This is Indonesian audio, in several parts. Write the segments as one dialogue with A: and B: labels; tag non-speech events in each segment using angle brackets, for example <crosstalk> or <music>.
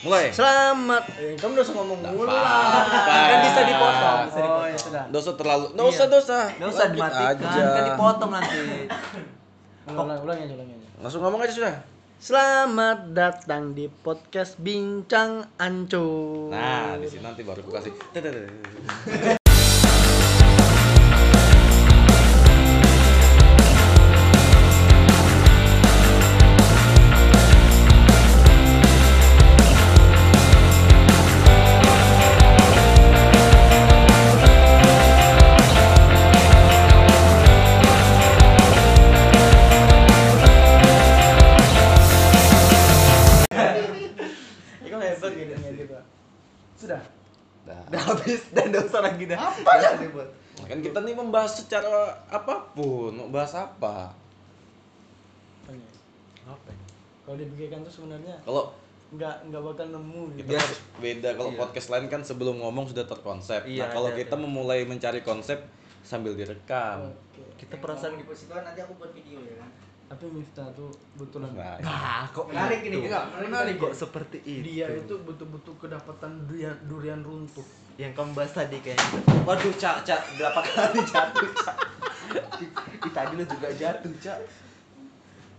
A: Mulai.
B: Selamat.
C: Eh, kamu udah usah ngomong mulu
A: apa-apa.
C: lah. Kan bisa dipotong. Bisa
B: Oh, ya
C: dipotong.
B: sudah.
A: Dosa terlalu. Nggak
B: Iya.
A: usah dosa.
B: Nggak usah
A: Lanjut
B: dimatikan,
A: aja.
B: kan dipotong
C: <laughs>
B: nanti.
C: Ulang, ulang, ulang aja, ulang ya. aja.
A: Langsung ngomong aja sudah.
B: Selamat datang di podcast Bincang Ancur.
A: Nah, di sini nanti baru aku kasih.
C: Ya, kamu hebat gitu ngedit, Pak. Sudah.
A: Nah,
B: Udah habis dan dosa lagi dah.
C: Apa dah? Iya.
A: kan kita nih membahas secara apapun, mau bahas apa?
C: Tanya. Kalau dipikirkan tuh sebenarnya
A: Kalau
C: nggak nggak bakal nemu gitu.
A: kita
B: Iya.
A: harus beda kalau podcast lain kan sebelum ngomong sudah terkonsep. nah,
B: Iya,
A: kalau
B: ada,
A: kita
B: ada.
A: memulai mencari konsep sambil direkam.
C: Oke.
B: Kita perasaan
D: di
B: gitu.
D: posituan nanti aku buat video ya kan.
C: Tapi Miftah tuh betulan
A: Nah,
B: Nah, kok
D: Menarik ini,
B: gitu?
D: enggak, menarik ya.
B: kok seperti itu.
C: dia itu betul-betul kedapatan durian durian runtuh.
B: yang kamu bahas tadi kayaknya. Waduh, Cak, Cak, berapa kali jatuh, Cak? Ih, tadi lu juga jatuh, Cak.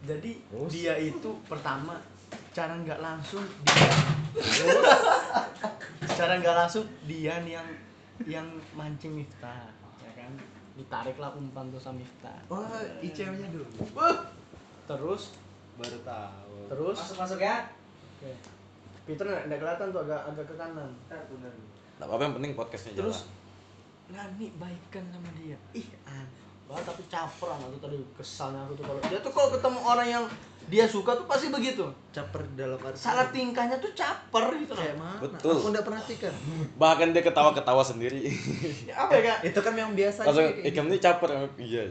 C: Jadi dia itu pertama cara nggak langsung dia cara nggak langsung dia nih yang yang mancing Miftah ya kan ditariklah umpan tuh sama Miftah
D: Oh.
B: Wah, ICM-nya dulu.
C: terus
B: Baru tahu.
C: terus
D: Masuk masuk ya.
C: Oke. Peter nggak nggak kelihatan tuh agak agak ke kanan
D: Ntar bener.
A: Nggak apa-apa yang penting podcastnya jalan.
C: terus Nani baikan sama dia Iya ih an banget tapi caper sama tuh tadi kesalnya aku tuh kalau dia tuh kalau ketemu orang yang dia suka tuh pasti begitu
B: Caper dalam arti
C: salah tingkahnya tuh caper gitu loh
B: kayak mana?
A: Betul.
B: Aku nggak perhatikan.
A: Bahkan dia ketawa-ketawa sendiri.
C: Ya, <laughs> apa ya kak
B: Itu kan memang biasa
A: Langsung
B: aja kayak
A: ikam ini caper. Iya.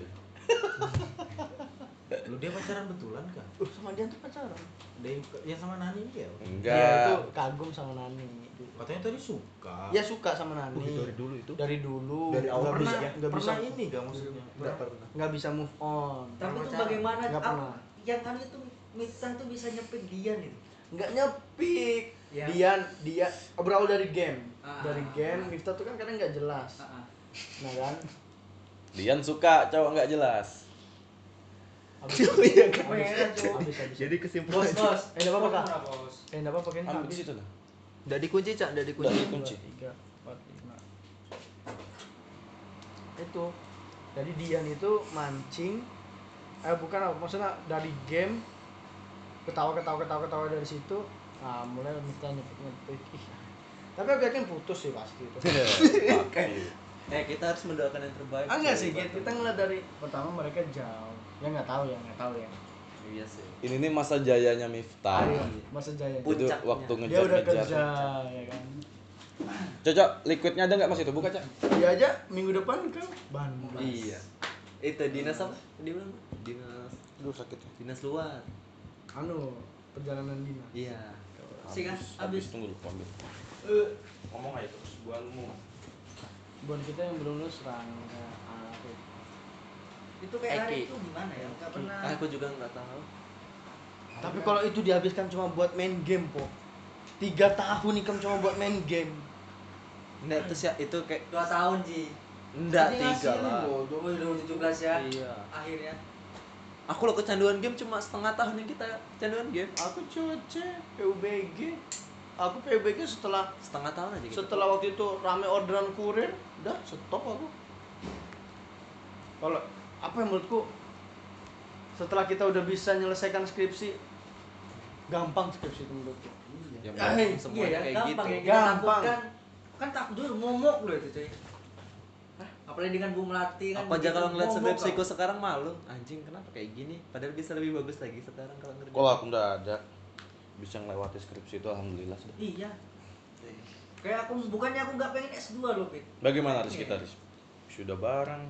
B: gitu. Lu dia pacaran betulan kan?
C: Uh, sama dia tuh pacaran
B: Dia yang sama Nani dia.
A: Enggak.
C: dia itu kagum sama Nani
B: Katanya tadi suka.
C: dia suka sama Nani
B: Wih, Uh, dari dulu itu?
C: dari dulu
B: Dari awal
C: nggak bisa
B: ya?
C: nggak bisa
B: Pernah ini nggak maksudnya?
C: nggak
B: pernah.
C: nggak bisa move on
D: Tapi
B: Nggak
D: tuh
B: pacaran.
D: bagaimana
C: Nggak
D: ap-
C: pernah.
D: yang kami tuh Mita tuh bisa nyepik dia nih.
C: nggak nyepik
D: Ya.
C: dia dia berawal dari game
D: Ah.
C: dari game Miftah tuh kan kadang nggak jelas nah kan
A: Dian suka cowok nggak jelas.
C: habis
B: Iya,
C: habis
B: kan?
C: habis habis
B: Jadi
D: Bos
B: kesimpulannya
D: bos.
C: Eh, nggak apa-apa, Kak.
D: Kenapa, Bos?
C: eh nggak apa-apa kayaknya
A: Ambil di
C: habis
A: situ lah.
B: Udah dikunci, Cak, udah dikunci.
A: Udah.
C: Dua,
A: kunci.
C: tiga empat lima itu jadi Dian itu mancing eh bukan apa maksudnya dari game ketawa ketawa ketawa ketawa dari situ nah, mulai Miftah nyepik nyepik Ih, tapi aku yakin putus sih pasti itu
A: Oke.
B: Eh, kita harus mendoakan yang terbaik.
C: ah enggak sih
B: Cak.
C: kita ngeliat dari pertama mereka jauh ya nggak tahu ya nggak tahu ya
B: Iya sih.
A: Ini nih masa jayanya Miftah.
C: Ayo, masa jaya
A: Itu
B: Puncaknya.
A: waktu
C: dia udah
A: ngejar-ngejar.
C: kerja ya kan
A: Cocok, liquidnya ada nggak mas itu? Buka cak.
C: dia Iya aja minggu depan ke Bandung
B: Iya. Itu dinas apa? Dia bilang dinas
A: Aduh sakit.
B: dinas luar.
C: anu perjalanan dinas
B: Iya.
D: Sih kan,
A: Habis
D: habis.
A: tunggu dulu ambil.
D: Eh,
A: Ngomong aja terus buanmu.
C: buat kita yang belum lulus Rangga Arif
D: itu kayak
B: Eki.
D: hari itu gimana ya? Enggak pernah.
B: Aku Ah, juga nggak tahu.
C: tapi kalau itu dihabiskan cuma buat main game po tiga tahun ikam cuma buat main game
B: Enggak itu sih ya, itu kayak
D: Dua tahun Ji.
B: enggak
C: Jadi
B: tiga
C: ngasihin
B: lah.
C: lu.
D: Oh, 2017 ya.
B: Iya.
D: Akhirnya.
B: Aku lo kecanduan game cuma setengah tahun yang kita kecanduan game.
C: aku cuace PUBG aku PUBG setelah
B: Setengah tahun aja gitu.
C: setelah waktu itu rame orderan kurir udah stop aku kalau apa yang menurutku setelah kita udah bisa menyelesaikan skripsi gampang skripsi itu menurutku
B: Ya,
A: Ah,
B: memang
C: iya,
B: semuanya
D: iya, ya,
B: kayak
D: gampang
B: gitu.
D: ya kita
C: Gampang.
D: takutkan. Kan takut dulu momok loh itu cuy. Hah? Apalagi dengan Bu Melati kan.
B: Aku aja
D: begitu,
B: kalau ngeliat
D: momok,
B: skripsiku sekarang malu. Anjing kenapa kayak gini? Padahal bisa lebih bagus lagi sekarang kalau ngerjain.
A: Kalau aku nggak ada bisa ngelewati skripsi itu alhamdulillah sudah.
D: Iya. Kayak aku bukannya aku nggak pengen S2 loh, Pit.
A: Bagaimana harus
B: Iya.
A: kita Riz? Sudah bareng,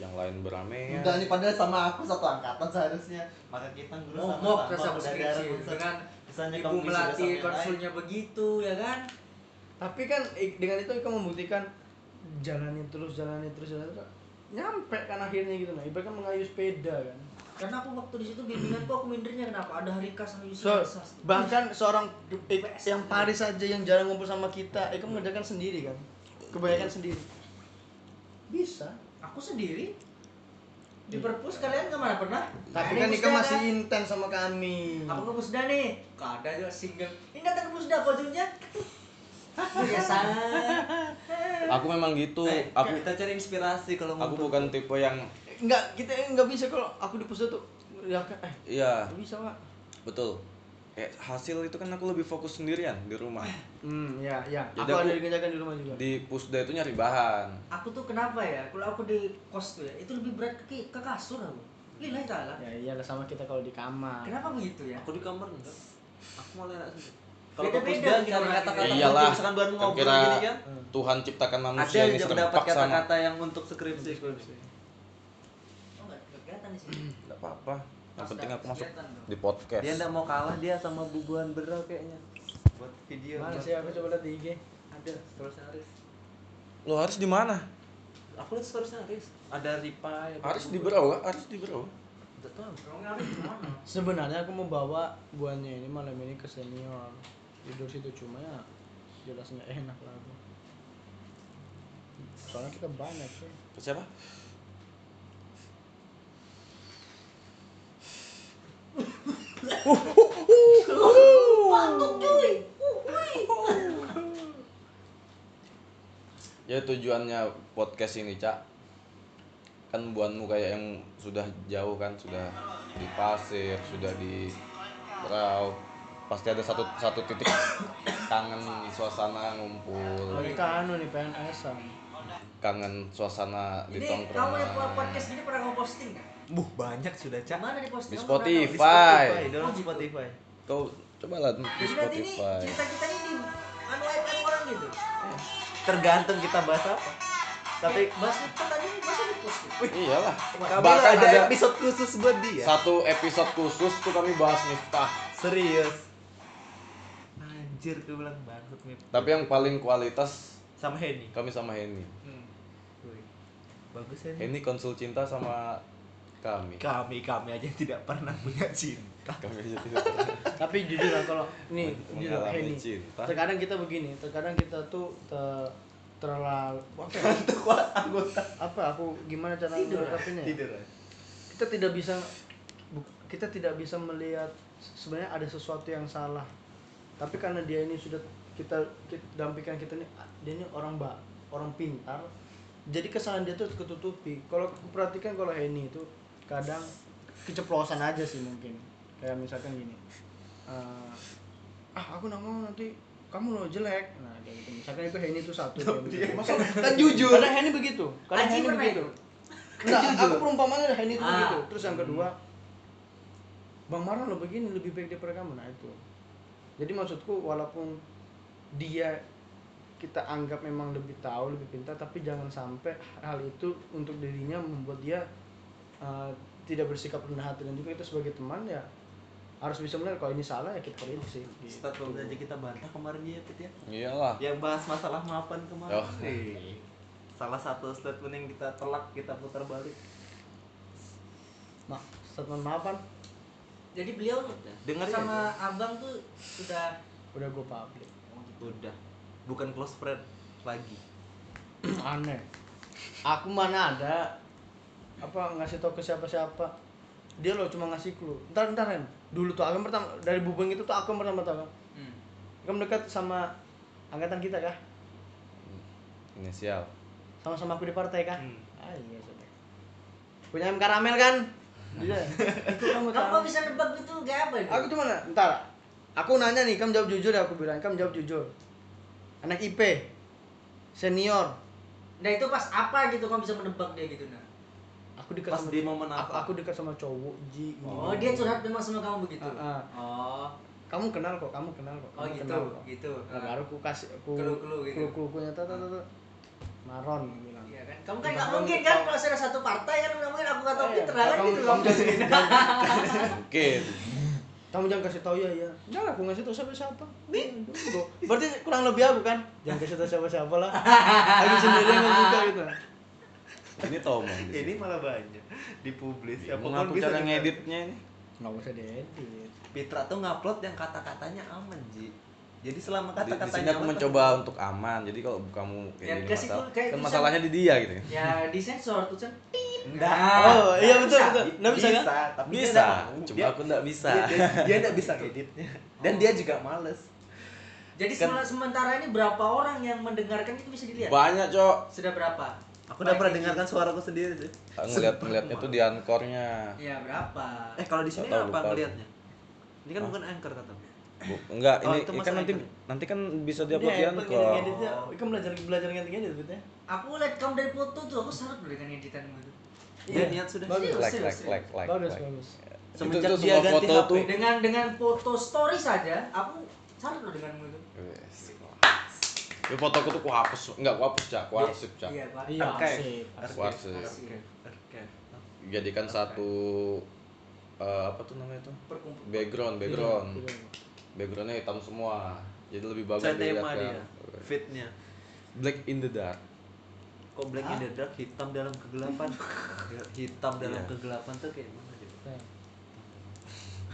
A: yang lain beramai.
E: Enggak nih padahal sama aku satu angkatan seharusnya. Maka kita ngurus sama-sama,
D: Momok rasa
E: udah
D: skripsi
E: ada urusan.
D: dengan
E: misalnya
D: Ibu
E: kamu bisa sama
D: Melati
E: yang lain.
D: konsulnya begitu ya kan?
C: tapi kan i- dengan itu kita membuktikan jalanin terus jalanin terus jalanin terus nyampe kan akhirnya gitu nah ibarat kan mengayuh sepeda kan
D: Karena aku waktu di situ bimbinganku aku mindernya kenapa? Ada Harika sama Yusuf.
C: So,
D: Esas.
C: bahkan seorang eh, yang Paris aja yang jarang ngumpul sama kita, Eko mengerjakan sendiri kan? Kebanyakan sendiri. Bisa.
D: aku sendiri di perpus kalian kemana pernah?
C: Tapi
D: Ada
C: kan
D: yang
C: Eko
D: musda,
C: masih
D: kan?
C: intens sama kami.
D: Aku ke Musda nih. Gak ada juga single. Ini datang ke Iya, Musda bajunya. Biasa.
A: Aku memang gitu.
E: Eh,
B: Eh, aku
A: Aku
B: kita cari inspirasi kalau
A: aku
B: ngumpul.
A: bukan tipe yang
C: Enggak, kita enggak bisa kalau aku di pusat tuh. Ya kan, eh,
A: iya,
C: nggak bisa, Pak.
A: betul. Kayak hasil itu kan aku lebih fokus sendirian di rumah.
C: Hmm, ya, ya.
A: Jadi
C: aku,
A: aku-
C: ada dikerjakan di rumah juga.
A: Di pusda itu nyari bahan.
D: Aku tuh kenapa ya? Kalau aku di kos tuh ya, itu lebih berat ke, ke kasur aku. Lillahi ta'ala.
C: Ya iyalah sama kita kalau di kamar.
D: Kenapa begitu ya?
B: aku di kamar enggak aku malah enak sendiri kalau ke
D: Beda-beda
B: pusda nyari
D: cara
B: kata-kata
D: Ya
A: Ya
B: kunci,
A: iyalah.
B: misalkan baru
A: Kan
B: ngobrol
A: kira
B: gini kan
C: Hmm.
A: Tuhan ciptakan
B: ada
A: manusia ini
B: yang
A: serempak
B: dapat
A: sama.
B: kata-kata yang untuk skripsi skripsi
D: Oh, nggak nggak kelihatan di
B: Hmm,
D: sini.
A: Enggak apa-apa. Yang
D: Mas,
A: penting
D: nggak
A: aku masuk
D: kelihatan dong.
A: di podcast.
B: dia enggak mau kalah dia sama bubuan berau kayaknya
F: buat video
C: Mana
F: buat-
C: sih Iya, aku coba lihat di IG.
B: ada terus Aris
A: Lo harus di mana?
B: aku lihat stories Aris ada Ripa ya,
A: Harus di Berau, harus di Berau.
B: Nggak tahu.
D: Kalau nggak ada gimana?
C: Sebenarnya aku membawa buannya ini malam ini ke senior. Tidur situ cuma ya jelas nggak enak lah aku. Soalnya kita banyak sih.
A: Ke Siapa?
D: Batuk cuy. Uh, wih.
A: Ya tujuannya podcast ini, Cak. Kan buanmu kayak yang sudah jauh kan, sudah di pasir, sudah di berau. Pasti ada satu satu titik kangen suasana ngumpul,
C: Lagi anu nih PNS-an.
A: kangen suasana di
D: Ini kamu yang buat
A: tongkrongan.
D: podcast ini pernah kamu posting nggak?
B: buh banyak sudah cak
D: Mana di posting?
A: Di
D: Kamu pernah tahu?
B: Di
A: Spotify.
B: dalam Spotify
A: Kau cobalah di
D: Jadi nanti ini <laughs>
A: Spotify.
D: cerita kita ini di anu iPad orang gitu.
B: Eh, tergantung kita bahas apa tapi
D: Eh, bahas itu tadi bahas di post.
A: Iyalah.
B: kami
A: Bahkan
B: ada
A: ada
B: episode khusus buat dia
A: satu episode khusus tuh kami bahas Miftah.
B: serius anjir gue bilang banget Mip.
A: Tapi yang paling kualitas
B: sama Henny
A: kami sama Henny.
B: Wih. bagus ya
A: Henny konsul cinta sama kami.
B: kami kami aja yang tidak pernah <laughs> punya cinta
A: Kami
B: <laughs>
A: aja tidak pernah
C: Tapi jujur lah kalau nih jujur lah,
A: mengalami
C: Henny.
A: cinta.
C: Terkadang kita begini, terkadang kita tuh ter- terlalu apa, ya?
B: untuk kuat anggota
C: apa aku gimana cara
D: Tidur.
C: menyikapinya ya?
B: tidur aja.
C: kita tidak bisa bu- kita tidak bisa melihat se- sebenarnya ada sesuatu yang salah tapi karena dia ini sudah kita, kita dalam pikiran kita ini "Ah, dia ini orang ba orang pintar jadi kesalahan dia tuh ketutupi kalau aku perhatikan kalau Henny itu kadang keceplosan aja sih mungkin kayak misalkan gini eh, ah aku nggak mau nanti kamu lo jelek nah kayak gitu misalkan itu Henny itu satu dia Masa- kan jujur ya? karena Henny begitu karena
D: Aji
C: Henny
D: pernah
C: begitu Enggak, aku perumpamannya Henny itu begitu. Terus yang kedua, Bang Marwan lo begini lebih baik daripada kamu. Nah itu. Jadi maksudku walaupun dia kita anggap memang lebih tahu, lebih pintar, tapi jangan sampai hal itu untuk dirinya membuat dia uh, tidak bersikap rendah hati dan juga kita sebagai teman ya harus bisa melihat kalau ini salah ya kita kritisi. Gitu.
B: Stat bagus aja kita bantah kemarin ya Pit ya
A: Iyalah.
B: yang bahas masalah mapan kemarin
A: Oh.
B: Wih. salah satu statement yang kita telak kita putar balik
C: Nah, statement maafan
D: Jadi beliau
B: Dengar
D: sama abang tuh sudah
C: udah gue publik.
B: udah bukan close friend lagi
C: Hmm, aneh aku mana ada apa ngasih tau ke siapa-siapa dia loh cuma ngasih clue ntar ntar Ren dulu tuh aku yang pertama dari bubeng itu tuh aku yang pertama tahu
B: Hmm.
C: kamu dekat sama angkatan kita kah
A: Inisial.
B: <laughs>
C: sama-sama aku di partai kah
B: Hmm.
C: ah iya sudah punya M karamel kan <laughs> iya itu kamu
D: Kamu
C: tahu
D: bisa nebak itu gak apa itu?
C: aku cuma ntar aku nanya nih kamu jawab jujur ya aku bilang kamu jawab jujur anak IP senior
D: Nah itu pas apa gitu kamu bisa menebak dia gitu nah.
C: aku dekat
B: pas
C: sama
B: di momen
C: aku,
B: apa
C: aku dekat sama cowok ji ini.
D: Oh, dia curhat memang sama kamu begitu.
C: Ah, ah.
D: Oh,
C: kamu kenal kok kamu kenal kok
D: oh
C: kamu
D: gitu,
C: kenal kok
D: gitu.
C: nah,
D: Ah.
C: baru ku kasih ku
D: Clue-clue gitu.
C: clue clue-nya, tata tata maron aku bilang
D: Iya kan? Kamu kan nggak
C: Kenapa
D: mungkin
C: kamu
D: kan
C: tahu?
D: kalau sudah satu partai kan nggak mungkin aku kata
C: Eh,
D: Peter kan
C: kamu-
D: gitu
C: kamu
D: kamu. <laughs>
A: Mungkin.
C: kamu jangan kasih tahu ya ya jangan aku ngasih tahu Iya, siapa siapa berarti
D: ya,
C: kurang lebih aku kan jangan kasih tahu siapa siapa lah aku sendiri yang ngebuka gitu
A: Ini Tomang. di sini.
B: Ini malah banyak dipublis. Ya,
A: Bingung aku cara
B: di-
A: ngeditnya ini.
C: nggak usah diedit
B: Pitra tuh ngupload yang kata-katanya aman, Ji. Jadi selama
A: Di, di sini
B: kata-katanya
A: aku
B: aman,
A: mencoba untuk aman. Jadi kalau kamu kayak
D: Ya,
A: gini
D: kasih
A: masalah,
D: tuh kayak
A: kan
D: bisa.
A: masalahnya di dia gitu. kan.
D: Ya disensor tuh kan.
B: Enggak.
C: oh iya
D: Nggak
C: betul
D: bisa.
C: betul nggak bisa kan
B: tapi dia
A: Bisa,
B: nggak mau.
A: cuma
B: Dia-
A: aku enggak bisa.
B: Dia- dia, dia nggak bisa ngeditnya. Dan dia juga males.
D: Jadi
A: Kan-
D: sema- sementara ini berapa orang yang mendengarkan itu bisa dilihat?
A: Banyak, Cok.
D: Sudah berapa?
B: Aku
D: Baik,
B: udah pernah
D: Ji.
B: dengarkan suaraku sendiri sih.
A: Ngeliat ngeliatnya tuh di ankornya.
D: Ya berapa?
B: Eh kalau di sini
A: Nggak tahu,
B: apa
A: lupa.
B: ngeliatnya? Ini kan
A: Hah?
B: bukan anchor katanya.
A: Bu- Enggak,
B: Oh,
A: ini,
B: itu
A: ini
B: masuk
A: kan nanti
B: icon.
A: nanti kan bisa
C: dia
A: diupload di
C: ngedit
A: ankor.
C: ngeditnya kan belajar belajar ngedit ngedit gitu ya
D: Aku lihat kamu dari foto tuh, aku salut loh dengan editanmu itu.
B: Dia
C: Iya.
B: niat sudah.
C: Bagus.
A: Like like
D: Serius, serius.
A: like like.
C: bagus
A: like.
C: bagus
A: Itu
B: Semenjak
A: tuh
B: dia
A: semua
B: ganti
A: foto
B: HP.
A: tuh.
D: Dengan dengan foto story saja, aku salut loh denganmu itu.
A: Wes, kelas. Ya fotoku tuh ku hapus, enggak ku hapus, Cak. Ku arsip, Cak.
D: Iya pak.
C: iya
B: Oke.
C: sih
A: Ku arsip.
D: Arsip.
B: Oke.
A: Jadikan satu eh, apa tuh namanya tuh?
D: Perkumpulan.
A: Background, background. Backgroundnya hitam semua. Jadi lebih bagus
B: Saya
A: dilihat
B: tema dia.
A: kan.
B: Fitnya.
A: Black in the dark.
B: Kok black in the dark hitam dalam kegelapan? Ya, hitam dalam
A: Iya.
B: kegelapan tuh kayak mana coba?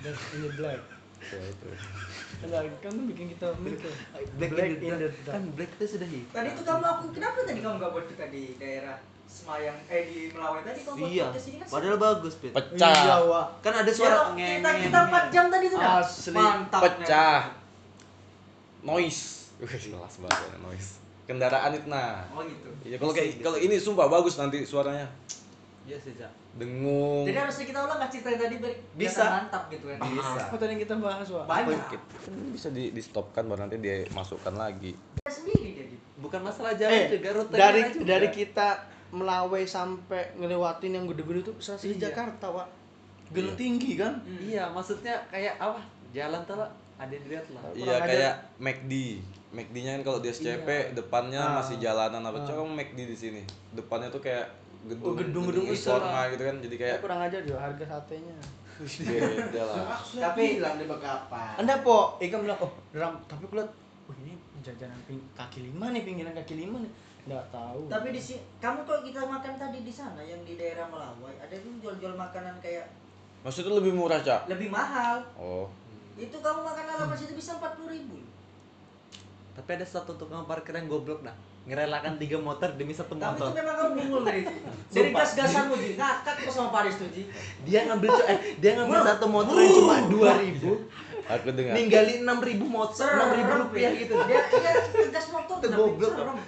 C: dan Nah. ini black
A: Tuh, Iya, itu.
C: Enggak, kan tuh bikin kita mikir
B: Black, in, the dark. Kan
C: Kan
B: black itu sudah hitam.
D: Tadi tuh kamu aku kenapa tadi kamu gak buat kita di daerah Semayang eh di Melawai tadi kamu buat
B: Iya.
D: podcast ini kan?
B: Padahal bagus, Pit.
A: Pecah.
C: iya wah
B: Kan ada
D: Suara
B: suara
D: kita kita 4 jam tadi tuh dah.
C: Asli.
D: Mantap.
A: Pecah. Noise. Wih, jelas banget ya, noise. Kendaraan itu nah.
D: Oh gitu.
A: Ya kalau kayak kalau ini sumpah bagus nanti suaranya.
B: Iya sih, Cak.
A: Dengung.
D: Jadi harusnya kita ulang nggak cerita yang tadi biar
B: Bisa.
D: kelihatan mantap gitu kan.
B: Bisa.
C: apa tadi yang kita bahas wah
D: Banyak.
A: Kan bisa di, di stopkan baru nanti dia masukkan lagi.
D: Kita sendiri dia gitu.
B: Bukan masalah jalan
C: eh
B: juga rute
C: dari
B: kita juga.
C: dari kita melawai sampai ngelewatin yang gede-gede tuh selesai di
B: Iya.
C: Jakarta wah gedung
A: Iya.
C: tinggi kan
B: Iya, maksudnya kayak apa? Jalan tuh lah, ada yang dilihat lah.
A: Iya
C: ajar.
A: kayak McD. McD-nya kan kalau di SCP depannya
C: Ah.
A: masih jalanan apa coba kamu McD di sini. Depannya tuh kayak gedung
C: Oh, gedung-gedung besar.
A: informal gitu kan jadi
C: <laughs>
A: kayak
C: Saya kurang ajar juga harga satenya
A: beda lah.
F: Tapi hilang di bekapan.
C: anda po ikan bilang oh drum tapi kulihat wah ini jajanan ping- kaki lima nih pinggiran kaki lima nih nggak tahu
D: Tapi di si kamu kok kita makan tadi di sana yang di daerah Melawai ada tuh jual-jual makanan kayak
A: Maksudnya tuh lebih murah, Cak.
D: lebih mahal.
A: Oh.
D: Itu kamu makan ala situ bisa 40 ribu.
B: Tapi ada satu tukang parkir yang goblok dah. Ngerelakan tiga motor demi satu
D: Tapi itu
B: motor.
D: memang kamu bungul dari itu. Dari
B: <laughs> Sumpah.
D: gas-gasanmu Ji. Ngakak kok sama Paris tuh Ji.
B: Dia ngambil co- eh dia ngambil satu motor yang cuma 2000,
A: Aku dengar.
B: ninggalin 6000 motor, 6000 rupiah gitu.
D: Iya, Dia kayak gas motor
B: Itu
D: tapi
B: goblok.
D: serem.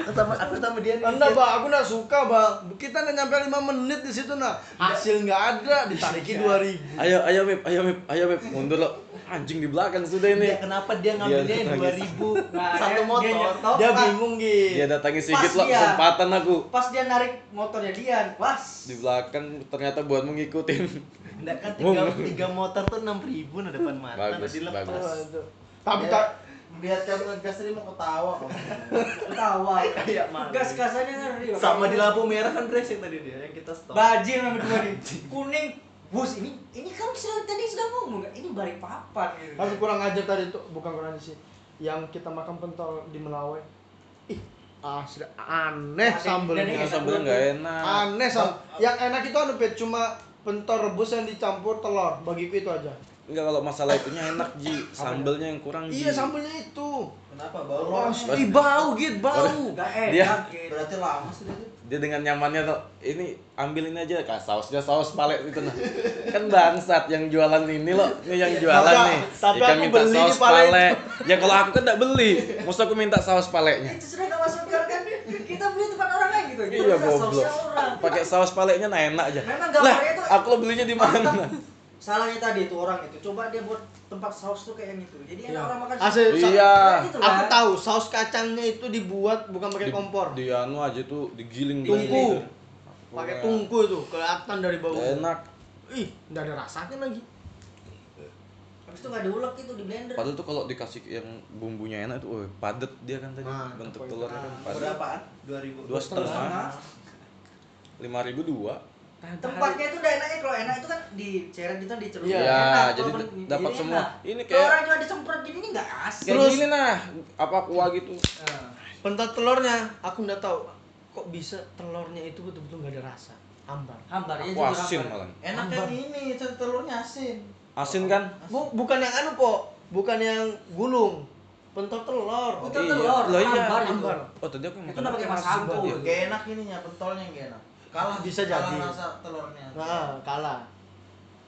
B: Aku sama aku sama dia nih.
C: Anda bah, aku nggak suka bah. Kita nggak nyampe lima menit di situ nah. Hasil nggak ada, ditariki dua ribu.
A: Ayo ayo Mip, ayo Mip, ayo Mip, mundur lo. Anjing di belakang sudah ini.
B: Dia kenapa dia ngambilnya yang
A: nangis.
C: <laughs>
B: 2000
D: Nah,
B: satu
D: dia- dia
B: motor?
D: nyetop.
C: Dia
D: Pak.
C: bingung
A: Dia
C: gitu.
A: datangi sedikit
D: Pas
A: lo
D: dia.
A: kesempatan aku.
D: Pas dia narik motornya Dian, pas.
A: Di belakang ternyata buat mengikutin.
B: Enggak kan tiga, tiga motor tuh 6000 nah depan mata
A: Bagus,
B: udah dilepas.
A: bagus.
C: Tapi
D: Ya.
F: Dia-
C: tak
F: Lihat kamu ngegas tadi mau ketawa
C: <laughs>
F: kamu.
D: Ketawa. kan,
B: Iya, malu.
D: Gas-gasannya ngeri. loh.
B: Sama di lampu merah kan brengsek tadi dia yang kita stop.
D: Bajing yang berdua nih. Kuning. Bus ini ini kamu sudah tadi sudah ngomong nggak? Ini balik papan gitu.
C: tapi kurang ajar tadi tuh, bukan kurang ajar sih. Yang kita makan pentol di Melawai. Ih, ah sudah aneh
D: Aneh. Dan
C: sambelnya.
D: Nah, eh, ini-
A: Nah, Sambelnya enggak enak.
C: Aneh sam. Yang enak itu anu Pet, cuma pentol rebus yang dicampur telur. Bagiku itu aja.
A: Enggak kalau masalah itunya enak Ji, sambelnya yang kurang Ji.
C: ya? Iya sambelnya itu.
F: Kenapa bau
C: Wah,
F: orang?
C: ih, bau gitu, bau.
D: Nggak
A: Dia-
D: enak gitu.
F: Berarti lama sih dia.
A: dia dengan nyamannya tuh ini ambil ini aja kak sausnya saus palek itu nah kan bangsat yang jualan ini loh ini yang jualan
C: Tapi-
A: nih
C: Iya. tapi
A: ikan
C: aku
A: minta
C: beli di
A: saus
C: palek.
A: palek ya kalau aku kan nggak beli masa aku minta saus paleknya
D: Itu sudah kamu masukkan kan? Kita beli tempat orang lain gitu. Kita
A: iya
D: rasa
A: goblok
D: sausnya orang.
A: pakai saus paleknya nah enak aja
D: Memang
A: lah
D: gambarnya tuh
A: aku belinya di mana
D: salahnya tadi itu orang itu. Coba dia buat tempat saus tuh kayak yang itu. Jadi enak
C: Iya.
D: orang makan.
C: Asli,
D: saus.
A: iya.
D: Nah, gitu,
C: Aku
D: kan?
C: tahu saus kacangnya itu dibuat bukan pakai
A: Di-
C: kompor.
A: di anu aja tuh digiling
C: Tungku.
A: banget gitu.
C: pakai
A: Pokoknya
C: tungku itu kelihatan dari bau
A: enak
C: ih nggak ada rasanya lagi
D: Habis itu nggak diulek itu di blender.
A: padahal tuh kalau dikasih yang bumbunya enak tuh oh, padet dia kan tadi
F: Nah,
A: bentuk
F: itu poin.
A: telurnya kan padet
F: Berapaan? 2000.
A: dua
D: Setengah.
A: setengah lima ribu dua
D: Tempatnya itu udah enaknya kalau enak itu kan diceret itu kan dicelup.
A: Iya,
D: Enak,
A: jadi
D: kalau men-
A: dapat
D: jadi
A: semua.
D: enak.
A: Ini
D: Kalau
A: kayak-
D: orang cuma disemprot gini ini nggak asli.
A: Kayak gini nah, apa kuah gitu.
D: Nah.
C: pentol telurnya aku nggak tahu kok bisa telurnya itu betul-betul nggak ada rasa ambar
D: Hambar ya
A: Aku
D: juga
A: asin
D: hambar.
A: malah.
B: Enak
C: Ambon.
B: yang ini, itu telurnya asin.
A: Asin kan?
C: Bu, bukan yang anu po bukan yang gulung pentol telur
D: Itu
A: Iya.
D: telur,
A: Loh, iya,
D: hambar itu.
C: ambar
A: Oh tadi aku makan. ya.
D: Itu udah pakai mas sampo.
A: Tadi aku-
B: Gak enak ininya, pentolnya gak enak. Kalah
C: Bisa
B: kalah
C: jadi.
B: rasa telurnya.
C: nah kalah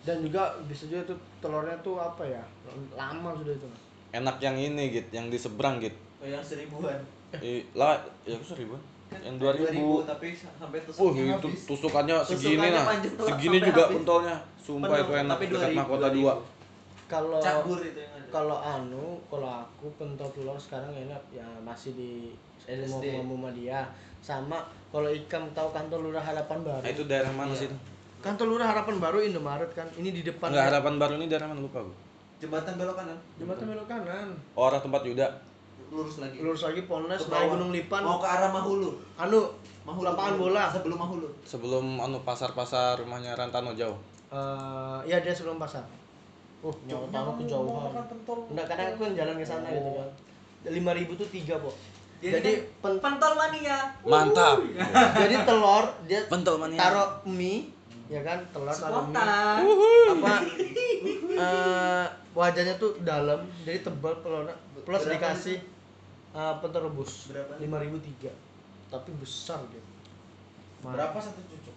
C: dan juga bisa juga tuh telurnya tuh apa ya lama sudah itu
A: Enak yang ini gitu, yang di seberang gitu.
B: Oh, yang seribuan.
D: Eh.
A: I- lah, ya aku seribu. Yang dua ribu.
B: tapi sa-
A: Wah,
B: sampai tusuknya
A: itu
B: habis.
A: tusukannya segini
B: Tusukannya
A: nah.
B: panjang lah,
A: Segini
B: sampai
A: juga
B: habis.
A: pentolnya. Sumpah
B: Penuh,
A: itu enak
B: tapi
A: dekat
B: 2000,
A: mahkota
B: 2000.
A: dua.
C: kalau
B: Cabur itu yang ada.
C: kalau anu kalau aku pentol telur sekarang enak ya masih di
B: LSD.
C: Muhammadiyah sama kalau ikam tahu kantor lurah harapan baru
A: Nah, itu daerah mana
B: Iya.
A: sih itu?
C: kantor lurah harapan baru Indomaret kan ini di depan
A: Enggak harapan baru ini daerah mana lupa aku.
B: Jembatan belok kanan.
C: jembatan belok kanan
A: Oh, arah tempat Yuda.
B: Lurus lagi.
C: lurus lagi Polnes
B: Ke
C: naik
B: bawah.
C: Gunung Lipan
B: Mau ke arah Mahulu.
C: anu
B: Mahulu.
C: lapangan bola
B: Sebelum Mahulu.
A: Sebelum anu pasar-pasar rumahnya Rantano jauh.
C: Eh, iya dia sebelum pasar uh mau tahu
B: kamu mau
C: kejauhan
B: makan pentol.
C: enggak karena aku kan jalan ke sana gitu kan lima ribu tuh tiga po
D: Jadi,
C: jadi kan pen-
D: pentol mania.
A: Mantap.
B: iya.
C: jadi telur dia
A: Pentol mania.
C: taruh mie ya kan telur taruh mie
D: Spontan.
C: apa eh, wajahnya tuh dalam jadi tebal telurnya plus
B: Berapa
C: dikasih eh pentol rebus
B: Berapa?
C: lima ribu tiga tapi besar dia
B: Berapa satu cucuk?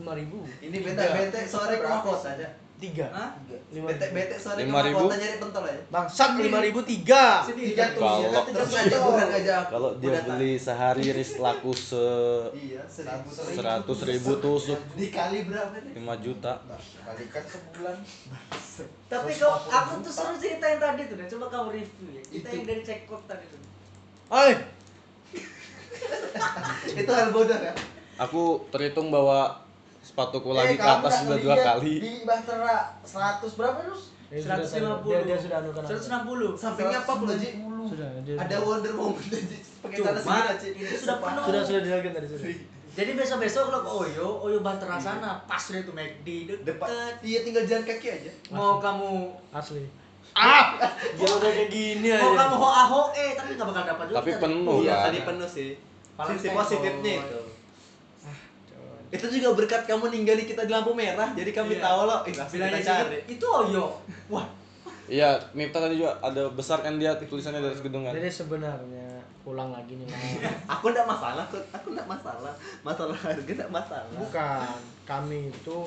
C: lima ribu
B: Ini bete-bete sore ke Mahkota aja.
C: tiga
D: Uhuh. Hah?
C: Lima ribu.
B: Bete-bete sore ke
A: 5.000.
B: Mahkota nyari pentol aja.
C: bangsat lima ribu tiga
B: Tiga
D: Sedih.
B: tuh,
A: Kalau-
B: iya, terus aja kurang <laughs> aja.
A: Kalau dia
B: Udah tak-
A: beli sehari ris laku se
B: Iya, seribu
A: seratus ribu tusuk
B: Dikali berapa nih?
A: 5 juta.
B: Kalikan sebulan.
D: Tapi kau, aku tuh suruh cerita yang tadi tuh, dan coba kau review ya. Cerita
B: Itu.
D: yang dari cekok tadi tuh.
C: Oi,
B: Itu hal bodoh ya?
A: Aku terhitung bahwa sepatuku lagi
B: Eh,
A: ke
B: kamu
A: atas
B: nggak
A: sudah dua
B: ngeliat
A: kali.
B: Di Bahtera 100 berapa terus?
C: Dia
D: 150.
C: sudah- dia- dia sudah anu kan aku.
D: 160.
B: Sampingnya apa pula Ji?
C: Sudah, dia
B: Ada
C: sudah.
B: Wonder Woman dan Ji. Pakai
D: Cuma,
B: tanah segala Ji.
D: ini sudah penuh.
C: sudah sudah dilakukan tadi sudah
D: Jadi besok-besok lo ke Oyo, Oyo Bahtera sana, pas deh tuh McD,
B: Depan.
D: deket.
B: Iya tinggal jalan kaki aja.
D: Mau kamu
C: asli Ah!
G: Dia udah kayak gini
D: mau kamu hoa
B: ah,
D: hoe,
B: eh,
D: tapi nggak bakal dapat juga.
A: Tapi
D: tadi.
A: penuh
B: Iya,
A: kan.
B: tadi penuh sih.
D: Paling
B: Sisi
D: teko.
B: positifnya itu.
C: Ah,
B: Itu juga berkat kamu ninggali kita di lampu merah, jadi kami
D: Iya.
B: tahu loh. Ih, langsung
D: Bilangnya
B: kita
D: cari.
B: cari.
D: Itu Oyo. Wah,
A: Iya, Miftah tadi juga ada besar kan dia tulisannya
B: Iya.
A: dari gedung kan.
C: jadi sebenarnya pulang lagi nih
D: <laughs>
C: Mas.
B: Aku enggak masalah, Kut. Aku enggak masalah. Masalah harga enggak masalah.
C: bukan kami itu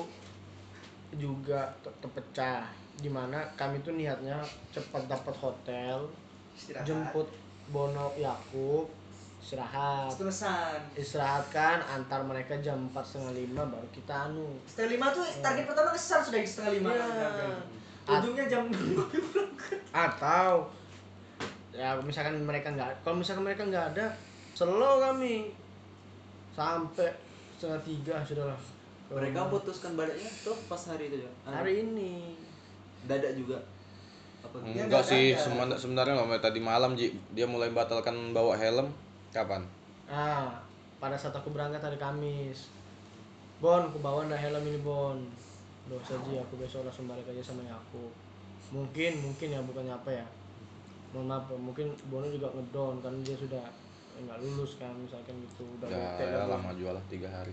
C: juga te- terpecah dimana kami tuh niatnya cepat dapat hotel
B: Istirahat.
C: jemput Bono Yakub istirahat
D: terusan.
C: istirahat kan antar mereka jam empat setengah lima baru kita anu
D: Setengah lima tuh
B: Iya.
D: target pertama kesan sudah di setengah lima.
C: Iya.
D: Untungnya jam dua.
C: atau ya misalkan mereka nggak kalau misalkan mereka nggak ada slow kami sampai setengah tiga sudahlah
B: Mereka putuskan baliknya tuh pas hari itu ya.
C: hari ini
B: Dadak juga. Apa gitu?
A: Hmm, Enggak
B: Dadak
A: sih,
B: aja.
A: semen- sebenarnya nggak mulai tadi malam Ji. Dia mulai batalkan bawa helm kapan?
C: ah pada saat aku berangkat hari Kamis Bon, aku bawa ndak helm ini Bon Dosa Ji, aku besok langsung balik aja sama aku Mungkin, mungkin ya, bukannya apa ya Mohon maaf, mungkin Bono juga ngedown karena dia sudah eh, nggak lulus kan misalkan gitu udah
A: Ya,
C: bete,
A: ya
C: udah
A: lama jual lah tiga hari.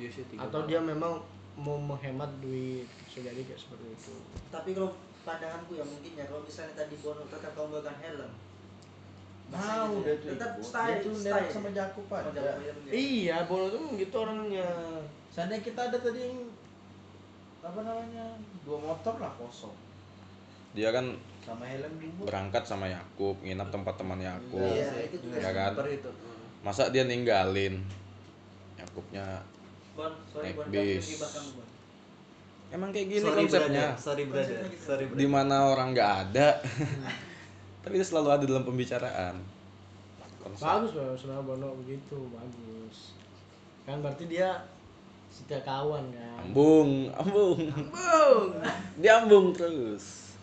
B: Dia sih tiga
C: atau dia memang mau menghemat duit bisa jadi kayak seperti itu
D: Tapi kalau pandanganku ya mungkin ya kalau misalnya tadi Bono tetap kamu menggunakan helm.
B: Mau
D: Masih gitu.
B: dia Nah, tuh.
D: tetap
B: ikut.
D: style,
B: Dia tuh
D: style.
B: nerek sama Jakub
D: Sama
B: aja.
D: jam bayarnya.
C: iya Bono tuh gitu orangnya
B: Seandainya kita ada tadi yang apa namanya? Dua motor lah kosong.
A: Dia kan
B: Sama helm dua.
A: berangkat sama Yakub, nginap tempat teman Yakub.
B: Iya,
D: Iya, itu juga
A: Ya kan?
B: Super itu.
A: Masa dia ninggalin Yakubnya
D: Bon, sorry
A: Naik
D: Bon,
A: bis.
D: tapi bahkan Bon.
A: Emang kayak gini konsepnya.
B: Sorry brother. Sorry
A: Di mana orang nggak ada. <laughs> Tapi itu selalu ada dalam pembicaraan. Konsep.
C: bagus Bono sebenarnya Bono begitu bagus kan berarti dia setia kawan kan
A: Ambung, ambung. Diambung terus.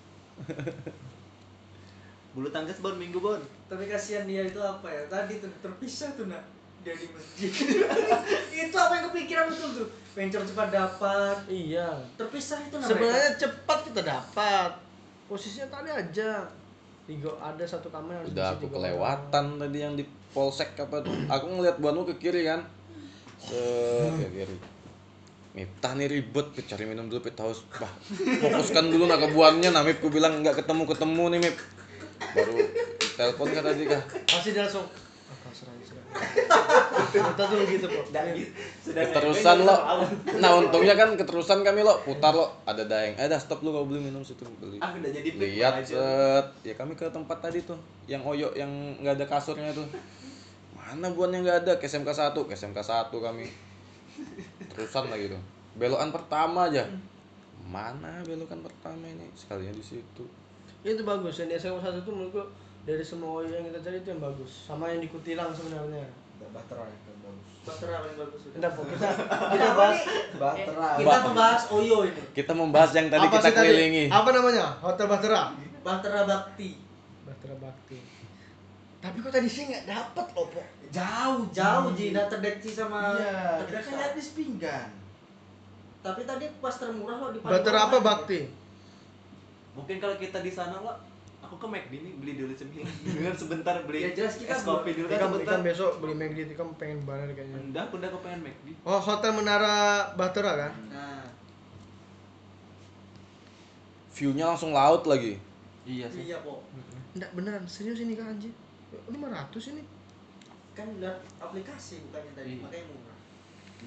B: Bulu tangkis bon minggu bon.
D: Tapi kasihan dia itu apa ya? Tadi tuh terpisah tuh nak dia di
B: <laughs>
D: masjid. itu apa yang kepikiran betul tuh? Pengen cepat dapat.
C: iya
D: Terpisah itu nak mereka.
C: Sebenarnya cepat kita dapat. Posisinya tadi aja. Tiga ada satu kamar yang harus
A: udah
C: diisi
A: aku
C: tiga
A: kelewatan tadi yang di polsek apa tuh aku ngeliat buanmu ke kiri kan set ke kiri Miftah nih ribet, Pit. cari minum dulu, Pit haus. Bah, fokuskan dulu naga buannya, nah Mip, ku bilang nggak ketemu ketemu nih Mip. Baru telepon kata tadi kah?
C: orang. Pasti dia langsung "Ah, kasar aja <laughs> serah." Kita tuh begitu kok.
B: Iya. gitu. <laughs>
C: gitu.
A: Keterusan lo. Nah untungnya kan keterusan kami lo, putar lo. Ada daeng. Eh dah stop lu kalau beli minum situ beli.
B: Ah, udah jadi piknik
A: lihat
B: aja.
A: set ya kami ke tempat tadi tuh yang oyok yang nggak ada kasurnya tuh mana buan yang nggak ada ke SMK 1 ke SMK 1 kami terusan lagi tuh belokan pertama aja mana belokan pertama ini sekalinya di situ
C: Itu bagus yang di SMA satu tuh menurut gua dari semua OI yang kita cari itu yang bagus. Sama yang di Kutilang sebenarnya.
F: Nggak baterai kan bagus.
D: Bahtera paling bagus sudah.
C: Enggak, Pak. kita kita
D: Kita
C: bahas
F: Baterai.
D: Kita membahas Oyo ini.
A: kita membahas yang <laughs> tadi
C: apa
A: kita
C: sih
A: kelilingi
C: Apa namanya? Hotel Bahtera.
D: Bahtera Bakti.
C: Bahtera Bakti. Tapi kok tadi sih nggak dapet loh, Pok.
D: Jauh, jauh
B: Hmm.
D: Ji, nah terdeksi sama
F: Iya, kita
D: terdekat.
F: kan lihat di pinggan.
D: Tapi tadi pas termurah lo di paling
C: Bahtera
D: bawah
C: apa
D: kan?
C: Bakti?
B: Mungkin kalau kita di sana lo aku ke McD nih beli dulu cemilan. <laughs> Dengan sebentar beli
D: Ya, jelas kita
B: es kopi dulu kan
C: Tikam,
B: sebentar.
C: Tikam besok beli McD, Tikam pengen banget kayaknya.
B: Enggak, aku udah kepengen McD.
C: Oh, Hotel Menara Bahtera kan?
D: Nah,
A: viewnya langsung laut lagi
B: Iya sih.
D: iya kok.
C: Enggak beneran, serius ini kan anjir. 500 ini.
D: Kan lihat aplikasi bukannya tadi,
B: Iya.
D: makanya murah.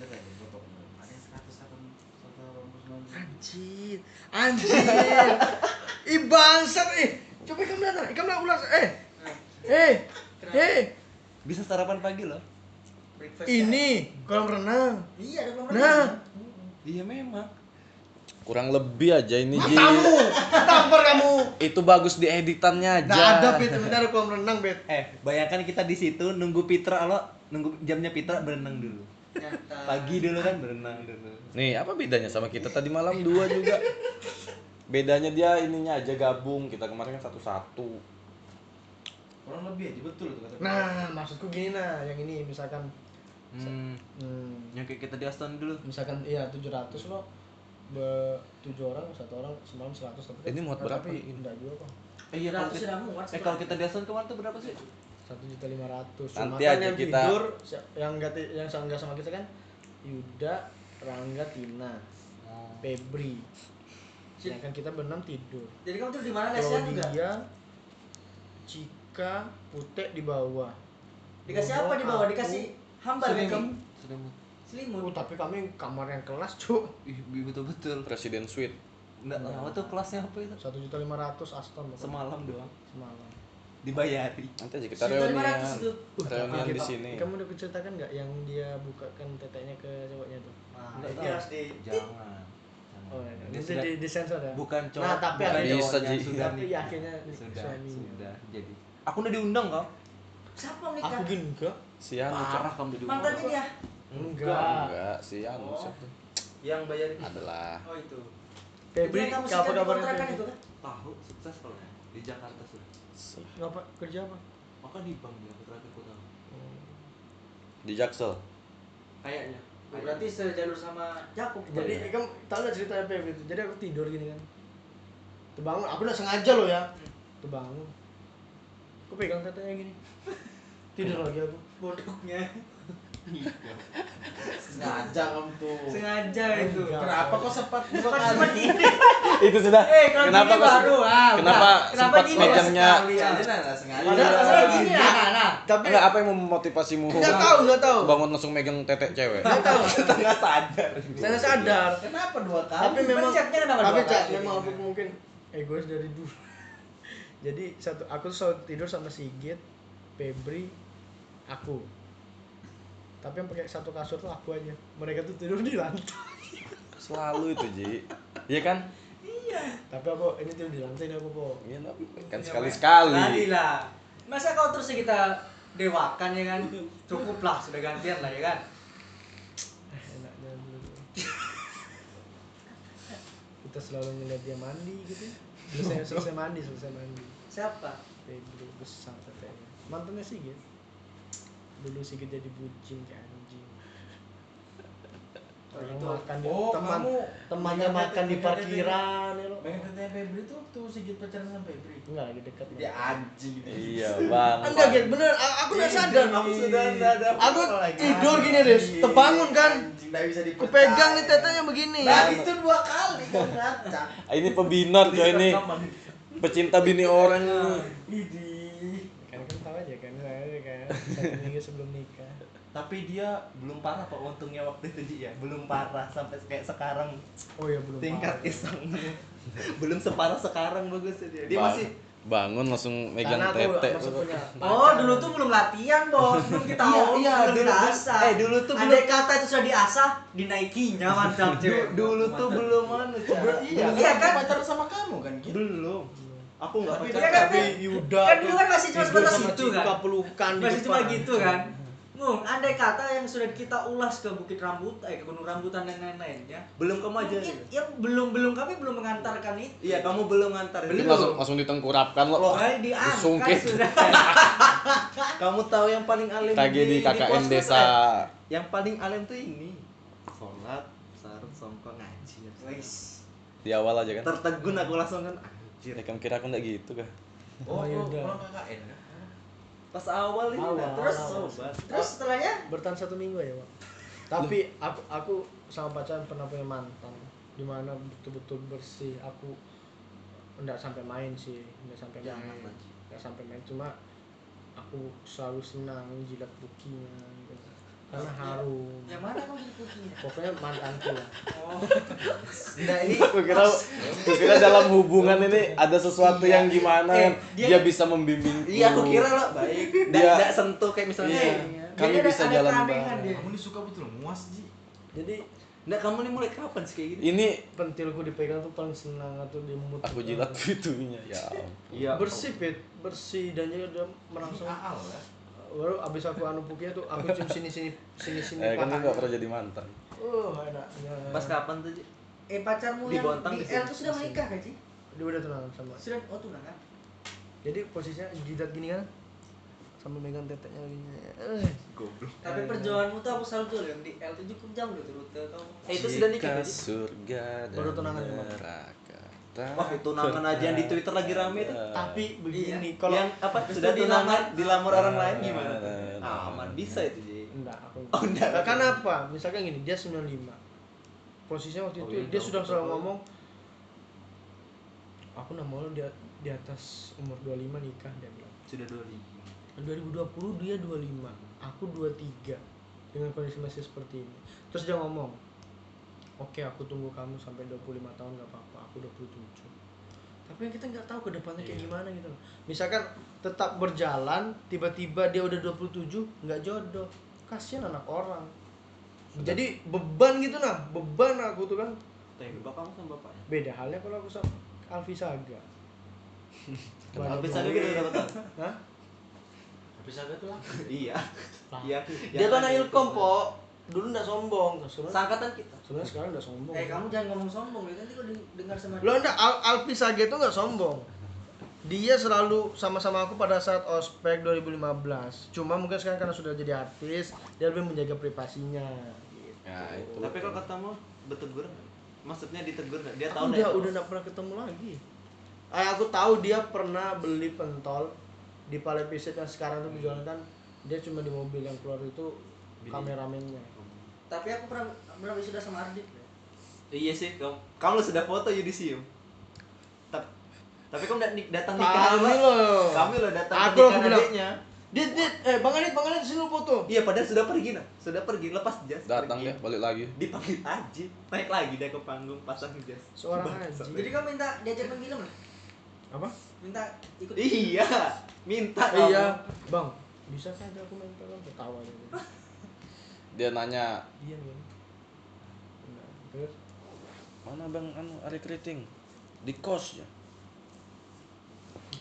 F: Lihat aja fotonya. Ada yang 189.
C: Anjir. Anjir. Ih bangsat eh. Coba kamu lihat, kamu lihat ulas eh.
D: Nah,
C: Eh. Eh,
B: Bisa sarapan pagi loh.
D: Breakfast ya.
C: ini kolam renang. <laughs>
D: Iya, ada kolam
C: Nah.
D: renang.
B: Iya memang.
A: kurang lebih aja ini Ji
C: Kamu, tampar kamu.
A: itu bagus di editannya aja
C: Nah, ada pit, bentar ada kolam renang, Bet.
B: Eh, bayangkan kita di situ nunggu Pitra lo, nunggu jamnya Pitra berenang dulu.
D: Nyata.
B: Pagi dulu kan berenang dulu.
A: Nih, apa bedanya sama kita tadi malam dua juga? Bedanya dia ininya aja gabung. Kita kemarin kan satu-satu.
F: Kurang lebih aja betul tuh kata.
C: Nah, maksudku gini nah, yang ini misalkan
B: Hmm,
C: hmm,
B: yang kayak kita di Aston dulu.
C: misalkan iya 700 lo be, 7 orang, satu orang semalam 100 tapi kan-
A: Ini muat berapa
C: tapi
A: ini?
C: enggak juga kok.
B: Eh, iya,
D: 100
B: kalau kita,
D: sudah muat
B: eh, kalau
D: sebenarnya.
B: kita di Aston kemarin tuh berapa sih?
C: satu juta lima ratus kan
A: Nanti aja
C: yang
A: kita-
C: tidur si- yang nggak ti- yang nggak sama kita kan Yuda Rangga Tina Febri sedangkan kita berenam tidur
D: Jadi kamu tuh di mana lesnya enggak?
C: Claudia Cika Putek di bawah
D: Dikasih
C: Bono,
D: apa di bawah?
C: aku,
D: Dikasih hambal
B: Sering
D: kaki.
B: kamu? Sering.
C: Oh,
D: Selimut.
C: tapi kami kamar yang kelas cuk
B: Ih, betul-betul.
A: Presiden Suite.
B: Nggak
C: Iya.
B: tahu tuh kelasnya apa itu.
C: satu juta lima ratus Aston pokoknya.
B: Semalam doang.
C: semalam
B: Dibayari.
A: Nanti aja kita
D: Sekitar
A: reunian.
D: 500 itu.
A: Reunian
C: Kamu-
A: di sini.
C: Uh, kamu udah ceritakan nggak yang dia bukakan teteknya ke cowoknya tuh
F: Nah,
B: Nggak
F: ini
B: tahu.
F: harus di
B: Jangan. Jangan.
C: oh, iya.
B: Dia
C: Itu
B: sudah
C: di, di sensor ya
B: bukan cowok.
C: Nah, tapi
B: bukan
C: akhirnya-
A: Bisa,
B: cowoknya,
A: Ji.
B: sudah
C: Tapi
B: nikah.
C: akhirnya
B: sudah,
C: suaminya.
B: sudah. Jadi, aku udah diundang kok.
D: Siapa nikah?
C: aku gini enggak
A: Sian,
B: Parah kamu udah diundang.
D: Mantannya dia.
C: enggak
A: Anu, Enggak, Sian. siapa?
F: yang bayarin
A: Adalah.
D: Oh itu.
C: Febri,
D: Itu yang kamu
C: apa
D: sikat di
C: kabarnya
D: kontrakan
C: Febri?
D: itu kan?
B: Tahu sukses kalau nggak. di Jakarta sudah.
C: Ngapa kerja apa?
B: Maka di bank dia aku terakhir aku tahu.
A: Di Jaksel.
B: Kayaknya.
D: Oh, Berarti sejalur sama Jakub.
C: Jadi kamu tahu nggak cerita Febri itu? Jadi aku tidur gini kan. Terbangun, aku udah sengaja loh ya. Terbangun. Aku pegang katanya gini. <laughs> Tidur lagi aku.
D: bodoknya.
F: sengaja kamu tuh.
D: Sengaja itu.
C: Enggak.
F: Kenapa kok sempat dua
D: Cepat
F: kali?
D: cepat ini.
A: Itu sudah.
D: Eh, kalau
A: kenapa
D: gini
A: kok-
D: baru. Ah,
A: kenapa
D: udah.
A: sempat
D: gini?
A: megangnya?
F: Kali aja nah, nah, sengaja.
C: Padahal
D: Padahal
C: Iya.
D: gini nah, nah, nah.
C: Tapi
A: Enggak, apa yang memotivasimu?
C: nggak tahu, nggak tahu.
A: Bangun langsung megang tetek cewek.
C: Nggak tahu.
B: Kita nggak sadar.
C: Saya sadar.
F: Kenapa dua kali?
C: Tapi memang
D: Pencetnya kenapa
C: Tapi
D: dua
C: Cak,
D: kali?
C: memang aku mungkin egois dari dulu. <laughs> Jadi satu aku tuh selalu tidur sama Sigit, Febri, aku. Tapi yang pakai satu kasur tuh aku aja. Mereka tuh tidur di lantai.
A: Selalu itu, Ji. Iya kan?
C: tapi aku ini tuh di lantai ini aku Eh, po
A: Iya, tapi kan
D: Lali
A: sekali-sekali.
D: lah. Masa kau terus kita dewakan ya kan? Cukup lah, sudah gantian lah ya kan?
C: eh, enaknya dulu kita selalu ngeliat dia mandi gitu selesai selesai mandi selesai mandi
D: Siapa?
C: Febri besar katanya mantannya sih gitu dulu sih jadi bucin kayak anjing
D: Oh, gitu.
C: makan di
F: Oh,
C: teman
F: kamu
C: temannya
F: megang
C: makan di
F: megang
C: parkiran ya lo
F: Pengen Febri tuh waktu Sigit pacaran sama Febri.
C: enggak lagi dekat
F: Dia anjing dia.
A: iya bang
C: enggak gitu bener a- aku udah sadar
F: Aku sudah enggak ada
C: iya, Aku
F: apa-apa lagi. Iya.
C: tidur gini, Riz.
D: Iya.
F: Anjing.
C: Terbangun, kan?
F: Anjing, nggak bisa
C: aku
F: dipercaya.
C: pegang nih tetenya begini
F: Nah, itu dua kali kan ngacak.
A: ini pebinat coy ini pecinta bini orang
F: Idi.
C: kan kan tahu aja kan tahu aja kan satu minggu sebelum nikah
B: Tapi dia belum parah kok untungnya waktu itu dia belum parah sampai kayak sekarang
C: oh ya belum
B: tingkat
C: parah.
B: isengnya <laughs> belum separah sekarang bagus dia. Dia
A: Bang-
B: masih
A: bangun langsung megang
C: karena aku
A: tete
C: masih punya
D: Oh, dulu tuh belum latihan, Bos. Belum kita
B: Iya,
D: olah,
B: iya,
D: belum
B: dulu
D: kita
B: tuh-
D: asah.
B: eh, dulu tuh
D: Andai kata itu sudah diasah, dinaikinya mantap,
B: du-
D: cewek.
B: dulu tuh belum anu cara
F: Iya,
D: Iya,
F: kan
D: kan?
F: pacaran sama kamu kan gitu.
B: belum aku nggak
F: Tapi
B: pacaran
D: dia kan-
B: tapi ya.
C: Yuda
D: Kan dulu kan masih cuma
C: tidur
D: sebatas
C: sama
D: itu,
C: Cika,
D: kan?
C: pelukan di
D: Masih cuma
C: depan.
D: gitu kan. Ngung, andai kata yang sudah kita ulas ke Bukit Rambut, eh ke Gunung Rambutan dan lain-lainnya,
B: belum kamu aja
D: mungkin ya belum belum kami belum mengantarkan itu.
B: iya kamu belum ngantar
A: Mungkin langsung langsung ditengkurapkan lo
D: Makanya diangkat
A: Disungkit. <laughs>
D: sudah.
B: kamu tahu yang paling alim
A: tragedi KKN
B: kosmos,
A: desa
B: eh? yang paling alim tuh ini sholat sarut songkok ngaji
D: Wis.
A: di awal aja kan
B: tertegun aku langsung kan anjir
A: ya kamu kira aku nggak gitu kah
C: Oh,
F: Oh,
C: iya,
F: itu
C: udah.
F: pulang KKN kan?
B: pas awal ini
C: Awal,
B: nah,
D: terus
C: awal.
B: sobat
D: Terus setelahnya
C: bertahan satu minggu ya Wak. tapi aku aku sama pacaran pernah punya mantan dimana betul-betul bersih aku enggak sampai main sih enggak sampai main enggak sampai main cuma aku selalu senang jilat bukinya gitu. karena harum
D: yang mana kamu dikukinya?
C: pokoknya mantanku lah
D: <laughs> Oh,
B: nah ini
A: aku kira aku kira dalam hubungan ini ada sesuatu
B: Iya.
A: yang gimana
B: Eh,
A: yang
B: dia-
A: dia, bisa membimbing
B: iya aku kira lo baik
A: Dia-
B: tidak sentuh kayak misalnya
A: Iya.
B: ini, ya.
A: Kami
D: Jadi ada-
A: bisa
D: ada
A: jalan
D: keanehan
A: bareng.
D: dia.
F: Kamu ini suka betul muas Ji.
C: jadi
B: nah kamu ini mulai kapan sih kayak gini
A: ini
C: pentilku dipegang tuh paling senang atau dimut
A: aku jilat <laughs> pitunya ya ampun.
B: iya
C: bersih pit bersih dan juga dia
F: Ini
C: merangsang
F: aal ya.
C: baru abis aku anu pukinya tuh aku cium sini sini sini sini
A: eh kamu nggak
C: paha
A: pernah jadi mantan
C: oh enaknya
B: kan pas kapan tuh Ji?
D: eh pacarmu
B: Di
D: yang
B: Bontang,
D: di L
B: di sini.
D: itu sudah menikah kan, Ci?
C: dia udah tunangan sama
D: Sudah oh tunangan.
C: jadi posisinya jidat gini kan sambil megang teteknya Eh. lagi
B: goblok
D: Tapi perjuanganmu tuh aku salut dulu yang di L tuh cukup jam loh turut ke kamu.
B: eh itu sudah nikah
A: Jika
B: Ji?
A: surga dan
C: Baru tunangan kemarin.
A: neraka
B: Wah, itu tunangan aja yang di Twitter lagi
A: Iya.
B: rame tuh.
C: tapi begini
B: Kalau
C: kalau
B: yang apa
D: Habis
B: sudah
D: itu
B: dilamar
D: dilamar-
B: dilamar orang lain gimana?
A: Nah, nah, nah,
B: Ah, Aman
A: nah.
B: bisa itu Ji.
C: enggak aku
B: Oh, enggak.
C: iya. karena apa misalkan gini dia 95 posisinya waktu
B: Oh,
C: itu
B: iya,
C: dia
B: tahu,
C: sudah
B: tahu,
C: selalu
B: tahu.
C: ngomong aku nggak mau lu di, di atas umur 25 nikah dia bilang
B: sudah dua ribu.
C: 2020 dia 25 aku 23 dengan kondisi masih seperti ini terus dia ngomong oke aku tunggu kamu sampai 25 tahun gak apa-apa aku 27 tapi kita nggak tahu ke depannya
F: Iya.
C: kayak gimana gitu loh misalkan tetap berjalan tiba-tiba dia udah 27 nggak jodoh kasihan anak orang jadi beban gitu nah beban aku tuh kan
B: Tanya bapak kamu sama bapaknya.
C: beda halnya kalau aku sama Alfi
F: <laughs>
C: Saga Banyak
B: Habis ada
C: duit.
B: gitu berapa tahun?
C: Hah?
F: Habis ada tuh lah.
B: <laughs> Iya.
C: Lah.
B: Iya.
C: dia tuh anak ilkom po dulu nggak sombong Ya, Sebenarnya-
B: Sangkatan kita.
C: sebenarnya sekarang udah sombong
D: Eh kamu jangan ngomong sombong deh nanti kau dengar sama
C: lo enggak Al Alfi Sage itu nggak sombong dia selalu sama-sama aku pada saat ospek 2015 cuma mungkin sekarang karena sudah jadi artis dia lebih menjaga privasinya gitu.
A: ya itu
B: Nah, Tapi kalau ketemu bertegur nggak? Maksudnya ditegur nggak? Dia
C: Aku
B: tahu
C: udah
B: nggak?
C: udah nggak pernah ketemu lagi eh, aku tahu dia pernah beli pentol di Palais Visit yang sekarang tuh dijualkan dia cuma di mobil yang keluar itu
B: Bini.
C: kameramennya
D: Tapi aku pernah pernah sudah sama Ardit. loh.
B: Iya sih, kamu kamu sudah foto yudisium. Tapi tapi kamu nggak nik- datang nikahan
C: kami loh
B: Kami lo datang
C: Aku loh,
B: ke nikahan
C: aku bilang.
B: adiknya.
C: dit dit eh bang Adit bang Adit sini lu foto
B: Iya, padahal sudah pergi nah. Sudah pergi lepas jas.
A: datang
B: pergi.
A: dia balik lagi
B: dipanggil Aji naik lagi dia ke panggung pasang jas
C: seorang
B: Bangsat.
C: Haji
D: Jadi kau minta diajak main film lah.
C: apa
D: Minta ikut.
B: iya minta kamu.
C: iya bang bisa kan ada aku main film ketawa aja gitu.
A: dia nanya
C: iya bang Nah, terus
A: mana bang anu Ari Keriting di kosnya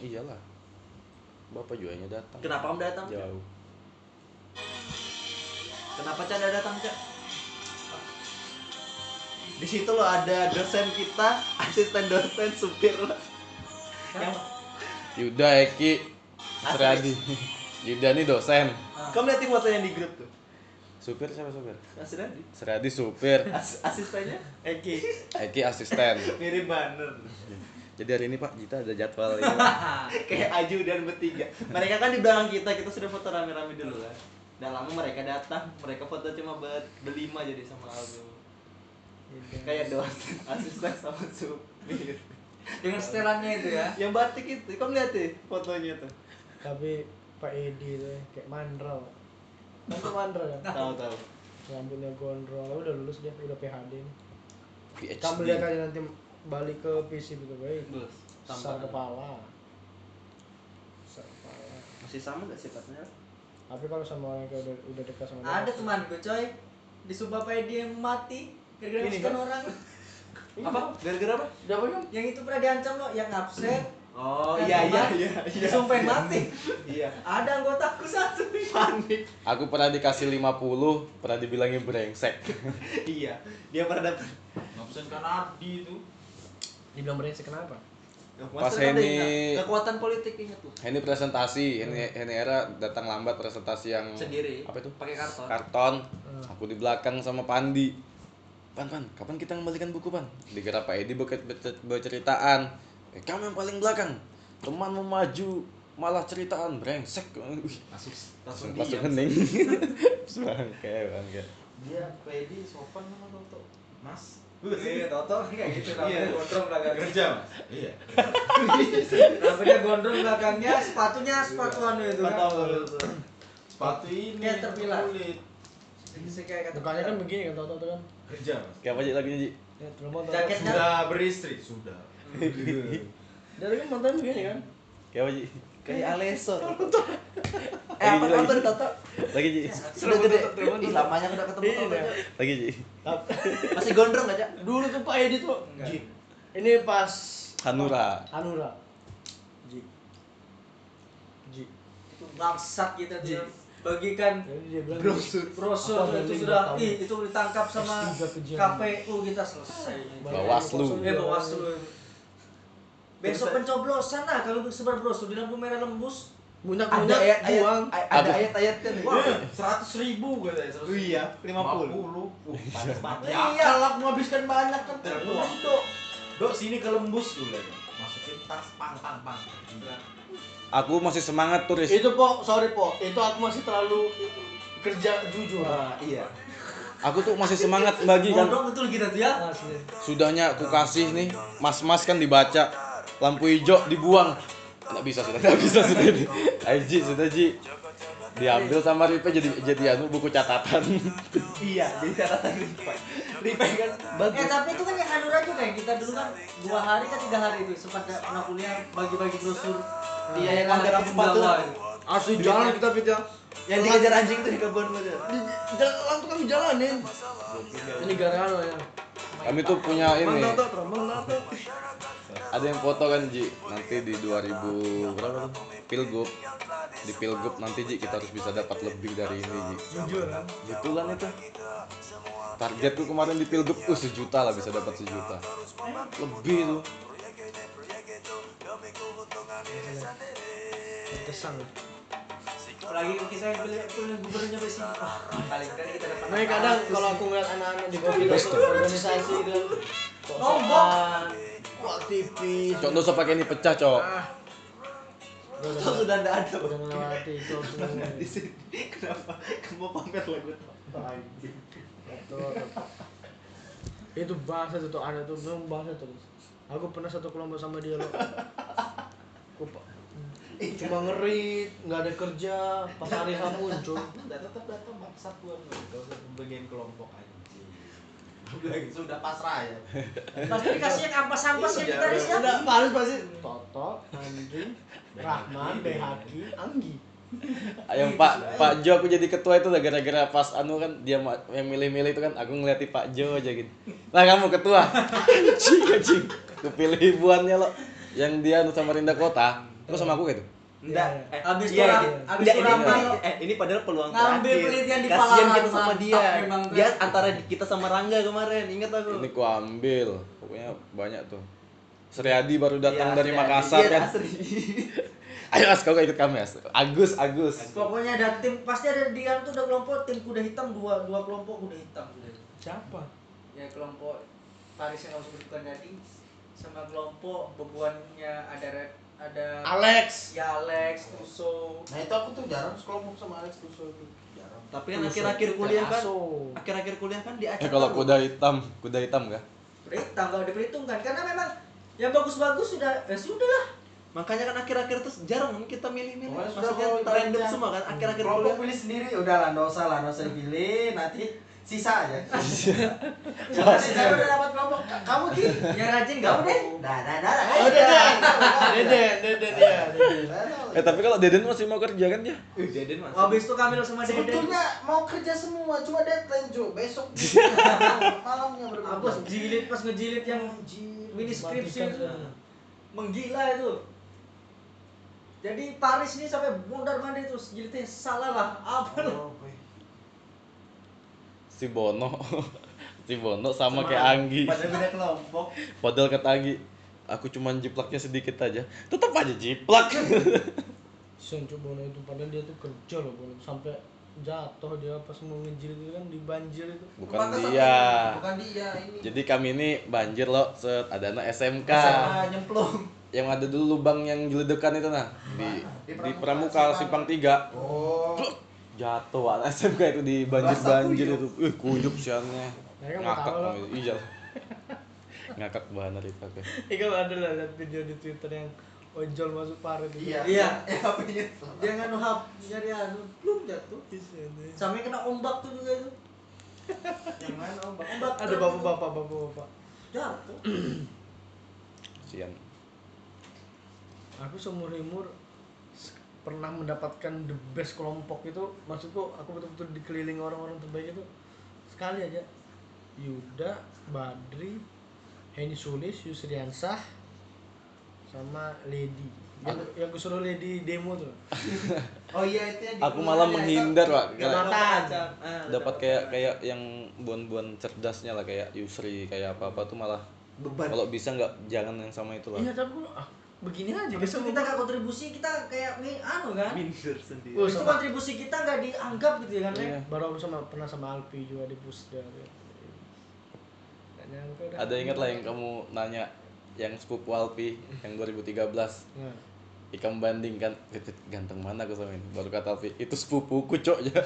A: iyalah bapak juanya datang
B: kenapa om datang Cak?
A: jauh
B: kenapa canda datang cak di situ lo ada dosen kita asisten dosen supir lo yang
A: Yuda Eki Seriadi <laughs> Yuda nih dosen
B: kamu lihat foto yang di grup tuh
A: Supir siapa supir?
B: Asisten
A: Seriadi supir,
B: As asistennya Eki
A: Eki asisten.
B: mirip banner.
A: Jadi hari ini Pak Jita ada jadwal ini.
B: Kayak Aju dan bertiga. Mereka kan di belakang kita, kita sudah foto rame-rame dulu kan. Udah lama mereka datang, mereka foto cuma ber berlima jadi sama Aldo. Kayak dosen, asisten sama supir.
D: <laughs> Dengan setelannya itu ya.
B: Yang batik itu, kamu lihat deh fotonya <laughs> tuh.
C: tapi Pak Edi tuh ya, kayak mandral kan tuh mandral kan
B: Tahu tahu.
C: rambutnya gondrong Tapi udah lulus dia udah PHD nih
A: PhD.
C: kamu lihat aja nanti balik ke PC gitu baik
B: Bus.
C: besar
B: Tampang.
C: kepala besar kepala
B: Masih sama gak sifatnya?
C: tapi kalau sama orang yang kayak udah, udah dekat sama dia,
D: Ada
C: pasti-
D: teman gue coy. Disumpah Pak Edi yang mati gara-gara
C: Ini
D: masukin
C: kan?
D: orang.
B: Apa? Gara-gara apa?
D: Yang itu pernah diancam ya loh, yang absen.
B: Oh
D: Kan
B: iya iya
D: rumah.
B: iya iya.
D: Disumpahin mati.
B: Iya.
D: Ada anggotaku satu.
B: Panik.
A: Aku pernah dikasih 50, pernah dibilangin brengsek.
B: Iya. Dia pernah dapat.
H: Ngabsen Kanadi itu.
C: dibilang brengsek kenapa
A: Pas
B: Master ada
A: ini-
B: ingat. kekuatan politik ingat tuh.
A: Nah, Ini presentasi, ini ini era datang lambat presentasi yang
B: Hmm. Sendiri.
A: Apa itu?
B: Pakai karton.
A: Karton.
C: Hmm.
A: Aku di belakang sama Pandi. Pan, Pan, kapan kita ngembalikan buku, Pan? Dikira Pak Edi beke- bece- berceritaan. Eh, kamu yang paling belakang. Teman maju malah ceritaan brengsek. Wih,
B: Langsung
A: Langsung
B: langsung dia. <laughs>
A: hening. Bangke, bangke.
H: Dia
B: Iya,
H: Pedi sopan sama Toto. Mas.
D: Iya, Toto kan kayak
H: Iya.
D: gitu. Rambutnya gondrong belakangnya.
H: Kerja, Mas. Iya.
D: Rambutnya gondrong belakangnya, sepatunya sepatu anu itu
B: Tahu,
D: kan.
B: tahu, tahu.
H: Sepatu ini
D: Kayak terpilah.
H: kulit.
D: Jadi kayak kata
C: bukannya kan begini kan tau-tau tuh kan
H: Kerja, Mas.
A: Kayak apa Ji, lagunya, Ji?
C: ya telepon tau
D: Iya, Jaket. kan?
H: Sudah beristri, sudah.
C: dari kan mantan begini kan
A: Kayak apa, Ji?
B: Kayak Aleso. eh
A: Lagi,
B: apa
A: lagi.
B: kabar Toto?
A: Lagi, Ji.
B: Sudah gede. Ih, lamanya aku udah ketemu Toto.
C: Iya.
B: Cak.
A: Lagi, Ji.
B: Masih gondrong gak, Cak?
C: dulu tuh Pak Edi tuh
D: Enggak.
C: Ji. ini pas
A: Hanura.
C: Hanura Ji Ji
D: Itu bangsat gitu dia bagikan
C: jadi dia bilang
D: brosur
C: Apa
D: itu
C: dari
D: sudah
C: kamu?
D: ih, itu ditangkap sama
C: S3 ke Jerman.
D: KPU kita selesai.
A: Bawaslu.
C: Iya,
D: Eh Bawaslu. Besok pencoblosan lah kalau sebar brosur di lampu merah lembus.
B: Ada
C: Munyak-munyak
B: ayat ayat
C: buang
B: ada ayat-ayat kan. Wah,
H: Iya. Seratus ribu katanya. seratus ribu.
B: Iya, 50.
H: 50. Uh, panas banget.
B: Iya.
H: Ya, kalap menghabiskan banyak kan.
B: Terus.
H: Terus, Dok. Dok, sini ke lembus dulu ya. Masukin tas pang pang pang.
A: Aku masih semangat turis.
C: itu po sorry po itu aku masih terlalu kerja jujur
B: Wah, iya.
A: Aku tuh masih semangat bagi kan.
D: Gondrong betul kita tuh ya.
C: asli
A: Sudahnya aku kasih nih. Mas-mas kan dibaca. Lampu hijau dibuang. Nggak bisa sudah, <laughs> nggak bisa sudah ini. Ayo, Ji, sudah Ji. Diambil sama Ripe jadi jadi anu buku catatan. <laughs>
B: Iya, jadi catatan Ripa. Ripa kan bagus.
D: Eh tapi itu kan yang hanura juga ya kita dulu kan dua hari kan tiga hari itu sempat ada pernah kuliah bagi-bagi brosur di
B: Iya, yang
D: daerah
B: anggaran
D: Jawa
B: sepatu.
D: itu.
C: asli jalan kita fit ya
B: Yang dikejar anjing itu di kebun itu.
C: jalan tuh kami jalanin ini gara-gara ya
A: Kami tuh punya ini.
C: mantap tuh mantap tuh
A: Ada yang foto kan Ji. Nanti di 2000 berapa? tuh? Pilgub. Di Pilgub nanti Ji kita harus bisa dapat lebih dari ini Ji.
C: jujur kan
A: Betulan itu. Targetku kemarin di Pilgub tuh sejuta lah bisa dapat sejuta. Lebih tuh.
C: kesan
D: Apalagi kita yang pilih pilih gubernurnya pasti wah, paling keren kita dapat.
C: Nah kadang kalau aku ngeliat anak-anak di bawah itu organisasi gitu kan kok
D: Nombok.
C: sopan, kok aktivis
A: Cok dosa pakai ini pecah cok.
C: ah Udah,
B: Itu
C: udah,
B: sudah enggak ada.
C: udah melewati itu semua
B: Di sini kenapa kamu pamer lagu Toto anjing?
C: Betul, betul. itu bahasa itu tuh ada tuh belum bahasa tuh aku pernah satu kelompok sama dia loh aku pa-
B: Iya.
C: cuma ngerit nggak ada kerja pas hari H muncul
H: Enggak tetap datang maksat gua nih. Enggak usah pembagian kelompok anjing. Udah
F: gitu,
H: sudah pasrah ya.
D: Pasti dikasih yang ampas-ampas ya
H: Iya,
D: kita Riz, ya.
B: Enggak, males pasti.
C: Toto Andri Rahman Behaki Anggi
A: Yang Pak Pak Jo aku jadi ketua itu lah gara-gara pas anu kan dia ma- yang milih-milih itu kan aku ngeliatin Pak Jo aja gitu. Lah kamu ketua. Anjing anjing. Kepilih ibuannya lo yang dia anu sama Rinda Kota. Terus sama aku gitu.
B: Enggak.
C: Iya,
B: eh,
D: Habis
B: iya,
D: kurang-
B: iya.
D: habis
B: Enggak,
D: kurang
B: ini-
D: apa?
B: eh, ini padahal peluang
D: Ngambil
B: terakhir.
D: pelitian di
B: Kasian
D: Palaran,
B: kita sama
D: mantap
B: dia.
D: memang,
B: Dia
D: kan?
B: antara di- kita sama Rangga kemarin, ingat aku.
A: Ini ku ambil. Pokoknya banyak tuh. Seriadi baru datang
B: Iya,
A: dari
B: asli,
A: Makassar
B: iya,
A: kan.
B: asli.
A: Ayo Mas, kamu ikut kami Mas. Agus, Agus.
D: Pokoknya ada tim pasti ada di dalam tuh ada kelompok tim kuda hitam dua dua kelompok kuda hitam kuda hitam.
I: Siapa?
D: Ya kelompok Paris yang kamu sebutkan tadi sama kelompok bebuannya ada Red- ada
F: Alex.
D: ya Alex Tuso.
F: <laughs> Nah itu aku tuh jarang sekelompok sama Alex Tuso itu. Jarang.
B: Tapi kan akhir-akhir kuliah kan,
I: Aso.
B: akhir-akhir kuliah kan di
A: Eh
B: acara.
A: kalau kuda hitam, kuda hitam enggak?
D: Kuda hitam kalau diperhitungkan karena memang yang bagus-bagus sudah ya sudah lah.
B: Makanya kan akhir-akhir terus jarang kita milih-milih.
F: Pokoknya sudah
B: Maksudnya
F: kalau
B: random
F: ditanya,
B: semua kan akhir-akhir kuliah.
F: Kelompok pilih sendiri udah lah, nggak usah lah, nggak usah dipilih. Nanti sisa
B: <laughs>
F: aja. Nanti saya udah dapat kelompok. Kamu di?
D: Yang rajin gak
F: Kamu
D: udah.
F: deh. Dah, dah, dah.
I: Oh,
F: Udah,
I: Deden.
F: Udah,
I: Deden, Deden ya. Deden.
A: Eh tapi kalau Deden masih mau kerja kan dia?
B: Ih, Deden masih.
D: Habis itu Kamil sama Deden.
F: Sebetulnya mau kerja semua, cuma deadline cu besok
B: <laughs>
F: malamnya berbeda.
D: Aku pas jilid pas ngejilid yang
F: Anjir.
D: mini skripsi
I: Matikan
D: itu
I: semua.
D: menggila itu. Jadi Paris ini sampai bundar mandi terus jilidnya salah lah apa lah.
F: Oh, gue.
A: Si Bono. <laughs> si Bono sama, kayak Anggi.
F: Padahal beda kelompok.
A: Padahal kata Anggi, aku cuman jiplaknya sedikit aja. Tetap aja
F: <laughs>
A: jiplak.
I: Sen Bono itu padahal dia tuh kerja loh Bono sampai jatuh dia pas mau ngejil itu kan di banjir <laughs> itu.
A: Bukan dia.
F: Bukan dia ini.
A: Jadi kami ini banjir loh, set ada anak SMK.
F: SMA nyemplung.
A: Yang ada dulu lubang yang jeledekan itu nah di
F: Di
A: di
F: Pramuka,
A: Pramuka Simpang 3.
F: Oh.
A: Jatuh anak SMK itu di banjir-banjir itu. Eh kuyup siangnya.
I: Mereka mau
A: Ngakak
I: tahu loh.
A: kami. Iya. Ngakak banget itu aku.
I: Eh kalau ada lah lihat video di Twitter yang ojol masuk parit itu.
F: Iya. <laughs>
D: Iya.
F: Ya, apa ini?
D: Dia nganu hap, jadi anu belum jatuh.
I: Isinya.
D: Sampai kena ombak tuh juga itu.
F: <laughs> Yang mana ombak?
D: Ombak
I: Ada
D: truk itu.
I: bapak-bapak, bapak-bapak.
A: <clears throat>
D: Jatuh.
A: Sian.
I: Aku seumur umur pernah mendapatkan the best kelompok itu maksudku aku betul-betul dikelilingi orang-orang terbaik itu sekali aja Yuda, Badri, Henny Sulis, Yusriansah sama Lady yang, yang aku suruh Lady demo tuh
F: Oh iya itu yang di
A: Aku malah
F: Kelurahan,
A: menghindar,
F: ya,
A: Pak.
F: Kak.
A: Kayak-
D: Jam. Ah,
A: dapat kayak kayak yang buan-buan cerdasnya lah kayak Yusri kayak apa-apa tuh malah
B: Beban.
A: kalau bisa nggak jangan yang sama itu lah.
I: iya tapi aku ah, begini aja
D: Habis itu
I: gitu.
D: kita nggak kontribusi kita kayak mi- anu kan.
B: Minder sendiri.
I: Wah,
D: Habis itu
I: sama-
D: kontribusi kita nggak dianggap gitu ya kan. Le?
A: Iya.
I: baru aku sama pernah sama Alpi juga di pusda Gak nyangka dah.
A: Ada ingat lah yang kamu nanya yang sepupu Alpi yang 2013
I: Nah,
A: ikam bandingkan ganteng mana aku sama ini baru kata Alpi itu sepupuku cok <laughs> ya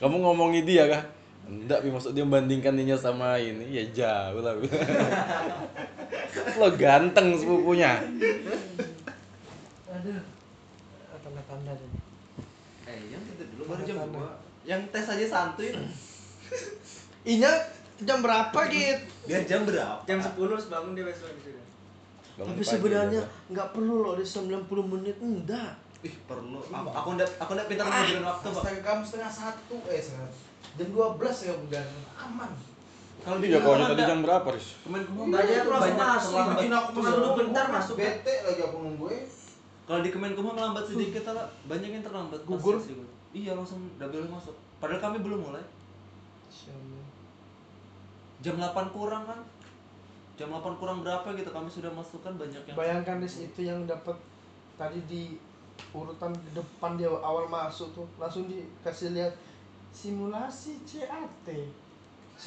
A: kamu ngomongin dia kah enggak pi maksud dia bandingkan dia sama ini ya jauh lah Pi." <laughs> lo ganteng sepupunya
I: aduh tanda-tanda tuh
B: Eh, yang itu dulu baru jam 2. Yang tes aja santuy. lah.
I: Inya jam berapa gitu?
F: Biar jam berapa?
D: Jam 10 harus bangun dia besok gitu kan.
A: Bangun
I: Tapi
A: pagi,
I: sebenarnya
A: udah.
I: nggak perlu loh di 90 menit enggak.
B: Ih, perlu. Aku aku ndak aku ndak pintar menunjukkan waktu, Pak.
F: Astaga kamu setengah satu eh setengah jam dua belas ya udah aman.
B: Kalau
A: Iya,
B: kalau
A: kalau tadi jam berapa, Riz?
B: Temen gue
D: Nggak ada aku langsung
B: banyak
D: masuk.
B: terlambat.
D: Bikin aku cuma duduk bentar masuk.
F: Bete lagi aku nunggu eh.
B: Kalau di Kemenkumham lambat sedikit lah, banyak yang terlambat. pas
F: Gugur.
B: sesi gua. Iya, langsung double masuk. Padahal kami belum mulai. Jam 8 kurang kan? Jam 8 kurang berapa gitu kami sudah masukkan banyak yang
C: Bayangkan Riz itu yang dapat tadi di urutan di depan dia awal masuk tuh langsung dikasih lihat simulasi CAT.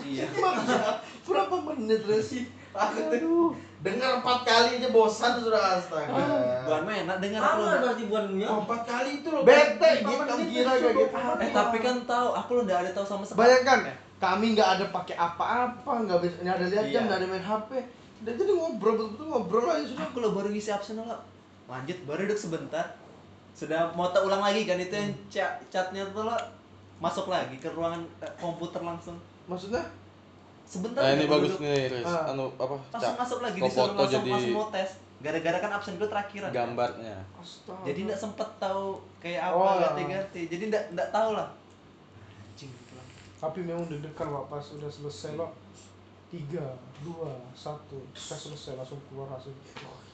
B: Iya.
C: <laughs> Maksudnya, berapa menit Riz?
F: Aku tuh
C: Aduh,
F: dengar empat kali aja bosan tuh sudah astaga.
B: Bukan main, enak dengar aku.
D: Aman berarti buat ya.
F: Oh, empat kali itu loh.
C: bete
F: Lima
C: gitu
F: menit,
C: gila
F: itu
C: kayak gitu.
F: dua puluh
B: Eh, tapi kan tahu aku lo ndak ada tahu sama sekali.
C: Bayangkan kami nggak ada pakai apa-apa, nggak bisa nggak ada lihat jam,
B: Iya.
C: nggak ada main HP. Dan jadi ngobrol betul-betul ngobrol aja sudah.
B: Sudah aku lo baru ngisi absen lo. Lanjut baru duduk sebentar. Sudah mau tak ulang lagi kan itu
A: Hmm.
B: yang ca- catnya tuh lo masuk lagi ke ruangan eh, komputer langsung.
C: Maksudnya
B: Sebentar.
A: Nah,
B: aja
A: ini
B: baru
A: bagus
B: duduk.
A: nih, Riz.
C: Ah.
A: Anu apa?
B: Langsung
A: Cak,
B: masuk lagi
A: kau
B: disuruh
A: foto
B: langsung,
A: jadi
B: langsung mau tes. Gara-gara kan absen gue terakhiran. kan.
A: gambarnya.
C: astaga.
B: Jadi ndak sempet tahu kayak apa
C: Oh.
B: ganti-ganti. Jadi ndak ndak tahu lah. Anjing, pulang.
C: tapi memang deg-degan Pak pas udah selesai Pak tiga dua satu kita selesai langsung keluar hasil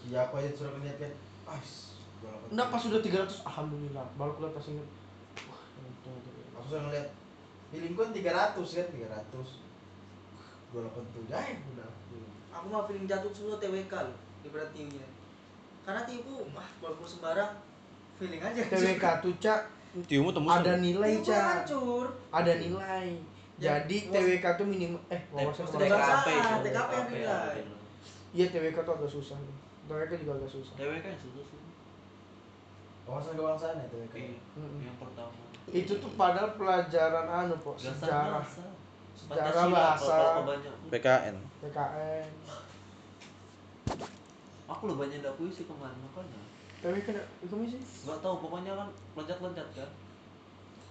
F: Iya, aku aja sudah melihatkan. Ah, gua lapar.
C: enggak pas udah 300 alhamdulillah baru keluar pas ingat wah untung aja ya.
F: Aku sudah ngeliat. Feeling gua 300 kan, 300. Gua lapar tuh, ya udah.
D: Aku mah feeling jatuh semua TWK loh di berat TU-nya. Karena TU ku wah walaupun sembarang feeling aja <laughs>
C: TWK tuh cak
A: Tiumu tembus
C: ada nilai
D: Iya, gua
C: cak
D: hancur
C: ada nilai
D: Ya,
C: jadi
D: wawasan-
C: TWK tuh minimal eh wawasan
D: TKP.
C: kebangsaan.
D: TKP, TKP yang dinilai.
C: iya TWK tuh agak susah TWK juga agak susah
B: TWK yang susah sih
F: Wawasan kebangsaan itu ya.
B: Iya,
C: Mm-mm.
B: yang pertama
C: itu tuh padahal pelajaran anu po
B: Dasar
C: sejarah
B: bahasa.
C: sejarah
B: Pancasila,
C: bahasa
B: kalau- kalau banyak.
A: PKN.
C: PKN
B: aku lo banyak ndak puisi kemarin makanya
C: TWK ada- itu sih
B: nggak tahu pokoknya kan loncat-loncat kan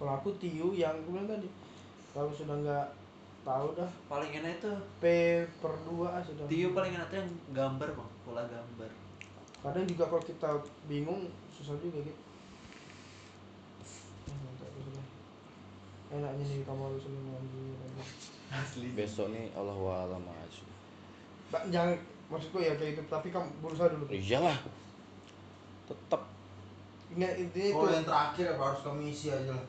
C: kalau aku tiu yang aku bilang tadi kalau sudah nggak tahu dah
B: paling enak itu
C: P per 2 sudah
B: Tio paling enak tuh yang gambar bang pola gambar
C: kadang juga kalau kita bingung susah juga gitu Eh, mantap, aku sudah. enaknya nih kamu harus ini anjir, anjir.
A: Besok nih Allah wa'alam aja.
C: Ba- jangan maksudku ya kayak itu tapi kamu berusaha dulu
A: Iyalah. Tetap
C: ingat intinya itu
A: Oh,
F: Kalau yang terakhir ya harus komisi aja lah.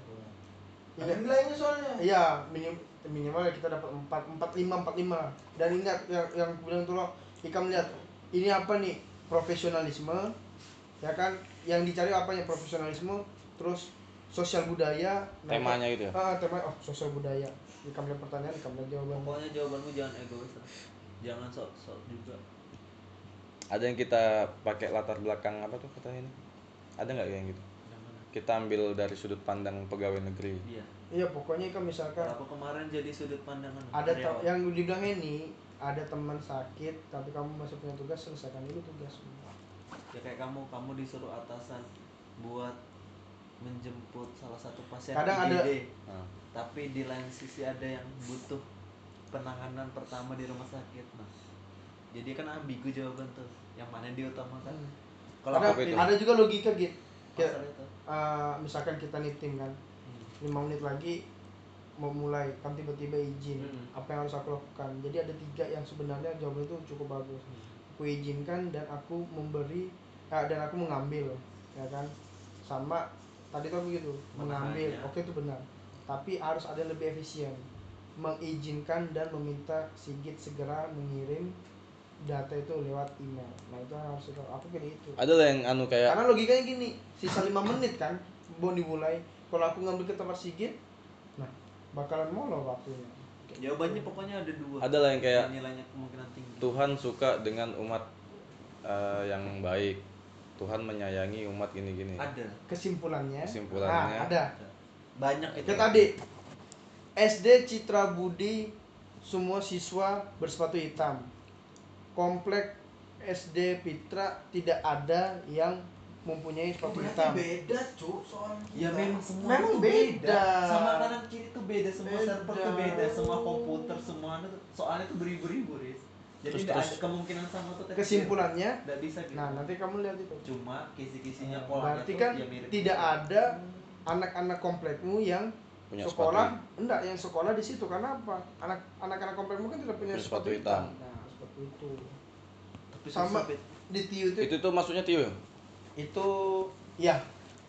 F: Ada
C: Iya.
F: nilainya soalnya.
C: Iya, minim, minimal ya kita dapat 4 4 5 4 5. Dan ingat yang yang aku bilang tuh loh, Ikam lihat ini apa nih? Profesionalisme ya kan? Yang dicari apanya? Profesionalisme, terus sosial budaya, nah,
A: temanya gitu ya.
C: Ah, tema oh, sosial budaya. Ikam lihat pertanyaan, Ikam lihat jawaban.
B: pokoknya jawabanmu jangan egois lah jangan sok sok juga
A: Ada yang kita pakai latar belakang apa tuh kata ini? Ada nggak yang gitu?
B: jangan
A: Kita ambil dari sudut pandang pegawai negeri.
B: iya
C: Iya, pokoknya Ikam misalkan
B: aku kemarin jadi sudut pandangan
C: ada te-
B: karyawan.
C: yang dibilang ini ada teman sakit tapi kamu masih punya tugas selesaikan dulu tugasmu
B: ya kayak kamu kamu disuruh atasan buat menjemput salah satu pasien
C: Kadang ada-
B: IGD.
A: Nah,
B: tapi di lain sisi ada yang butuh penanganan pertama di rumah sakit nah jadi kan ambigu jawaban tuh yang mana yang diutamakan
C: Hmm.
B: kalau
C: Ada-
A: apa itu?
C: ada juga logika gitu kayak
B: pasal itu Hmm.
C: eh, misalkan kita nih tim kan lima menit lagi mau mulai kan tiba-tiba izin
B: Mm.
C: apa yang harus aku lakukan jadi ada tiga yang sebenarnya jawaban itu cukup bagus aku izinkan dan aku memberi eh, dan aku mengambil ya kan sama tadi tuh aku gitu mengambil
B: Menahannya.
C: oke itu benar tapi harus ada yang lebih efisien mengizinkan dan meminta Sigit segera mengirim data itu lewat email nah itu harus itu aku pilih itu
A: Ada lah yang anu kayak
C: karena logikanya gini, sisa 5 menit kan mau dimulai. Kalau aku ngambil ke tempat Sigit, nah bakalan molor waktunya.
B: jawabannya pokoknya ada dua
A: ada lah yang kayak
B: Yang nilainya kemungkinan tinggi
A: Tuhan suka dengan umat eh, yang baik. Tuhan menyayangi umat gini-gini.
B: ada
C: Kesimpulannya,
A: Kesimpulannya.
C: nah, ada.
B: banyak itu
C: Itu tadi SD Citra Budi semua siswa bersepatu hitam. Komplek SD Pitra tidak ada yang mempunyai
F: Oh,
C: sepatu
F: berarti
C: hitam.
F: beda cuk soalnya.
B: ya memang semua
C: Iya, Memang
B: itu
C: beda.
B: sama kanan kiri tuh beda semua
C: Beda.
B: server tuh beda semua komputer semuanya tuh soalnya tuh beribu-ribu ris jadi
A: Terus-
B: nggak
A: terus.
B: ada kemungkinan sama tuh kecil.
C: Kesimpulannya,
B: nggak bisa gitu
C: nah nanti kamu lihat itu.
B: cuma kisi-kisinya polanya
C: Berarti
B: tuh
C: kan
B: ya mirip.
C: tidak ada anak-anak komplekmu yang
A: Punya
C: sekolah enggak yang sekolah di situ karena apa anak anak anak komplekmu kan tidak punya
A: Punya
C: sepatu
A: sepatu hitam.
C: hitam. nah seperti itu
B: tapi susah,
C: sama
B: Pit.
C: di tiu itu, itu
A: Itu tuh maksudnya Tio.
C: ya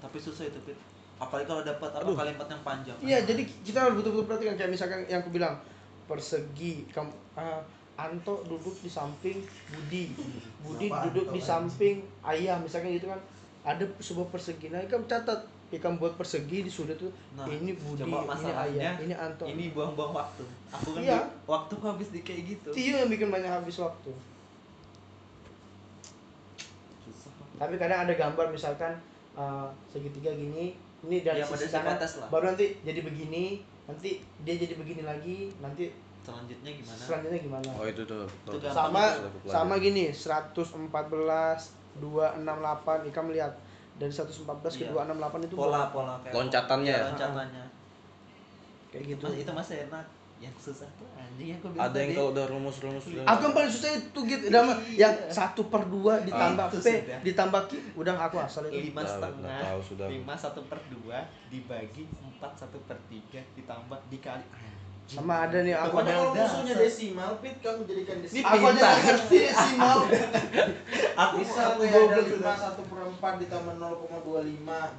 B: tapi susah itu Pit. apalagi kalau dapat apa
A: Aduh.
B: kalimat yang panjang
C: iya jadi kita harus betul-betul perhatikan kayak misalkan yang aku bilang persegi kamu ah, Anto duduk di samping Budi Budi
F: Kenapa
C: duduk
F: Anto,
C: di
F: anjing?
C: samping Ayah misalkan gitu kan ada sebuah persegi nah kamu catat kamu buat persegi di sudut itu
B: Nah,
C: ini Budi ini
B: coba
C: Ayah
B: masalahnya,
C: ini Anto
B: ini buang-buang waktu aku kan
C: Iya.
B: di- waktu habis di kayak gitu
C: Tio yang bikin banyak habis waktu
B: susah
C: tapi kadang ada gambar misalkan uh, segitiga gini ini dari
B: Ya, pada
C: sisi
B: sisi
C: kanan
B: atas lah.
C: baru nanti jadi begini nanti dia jadi begini lagi nanti
B: selanjutnya gimana
C: selanjutnya gimana
A: Oh itu tuh.
B: Itu gampang.
C: sama
A: Sudah aku pelajari.
C: sama
B: ya?
C: gini 114 268 Ika melihat dari 114 ke
B: Iya.
C: 268 itu
B: pola pola kayak
A: Loncatannya
B: Iya,
A: ya?
B: loncatannya
C: kayak gitu
B: Mas, itu masih enak yang susah tuh anjing yang aku bilang
A: Ada yang
B: tadi.
A: kalau udah rumus-rumus udah-
C: Aku yang paling susah itu gitu, udah mah, yang satu per dua ditambah
B: Iya. Ah, Itu ya. Iya.
C: p
B: sudah.
C: ditambah q, udah aku asal itu.
B: lima
A: Tahu,
B: setengah
A: udah tahu sudah.
B: lima satu per dua dibagi empat satu per tiga ditambah dikali Anjing.
C: Sama ada nih, aku
F: Pokoknya
C: ada.
F: kalau
B: Udah,
F: musuhnya
B: asal.
F: desimal, pit kamu jadikan
B: Ini
F: desimal.
C: Aku aja
B: pintar.
C: nggak ngerti
B: <laughs>
C: desimal.
B: aku
F: Bisa
B: aku
F: kayak ada
B: goblok
F: lima
B: sudah.
F: satu per empat ditambah 0,25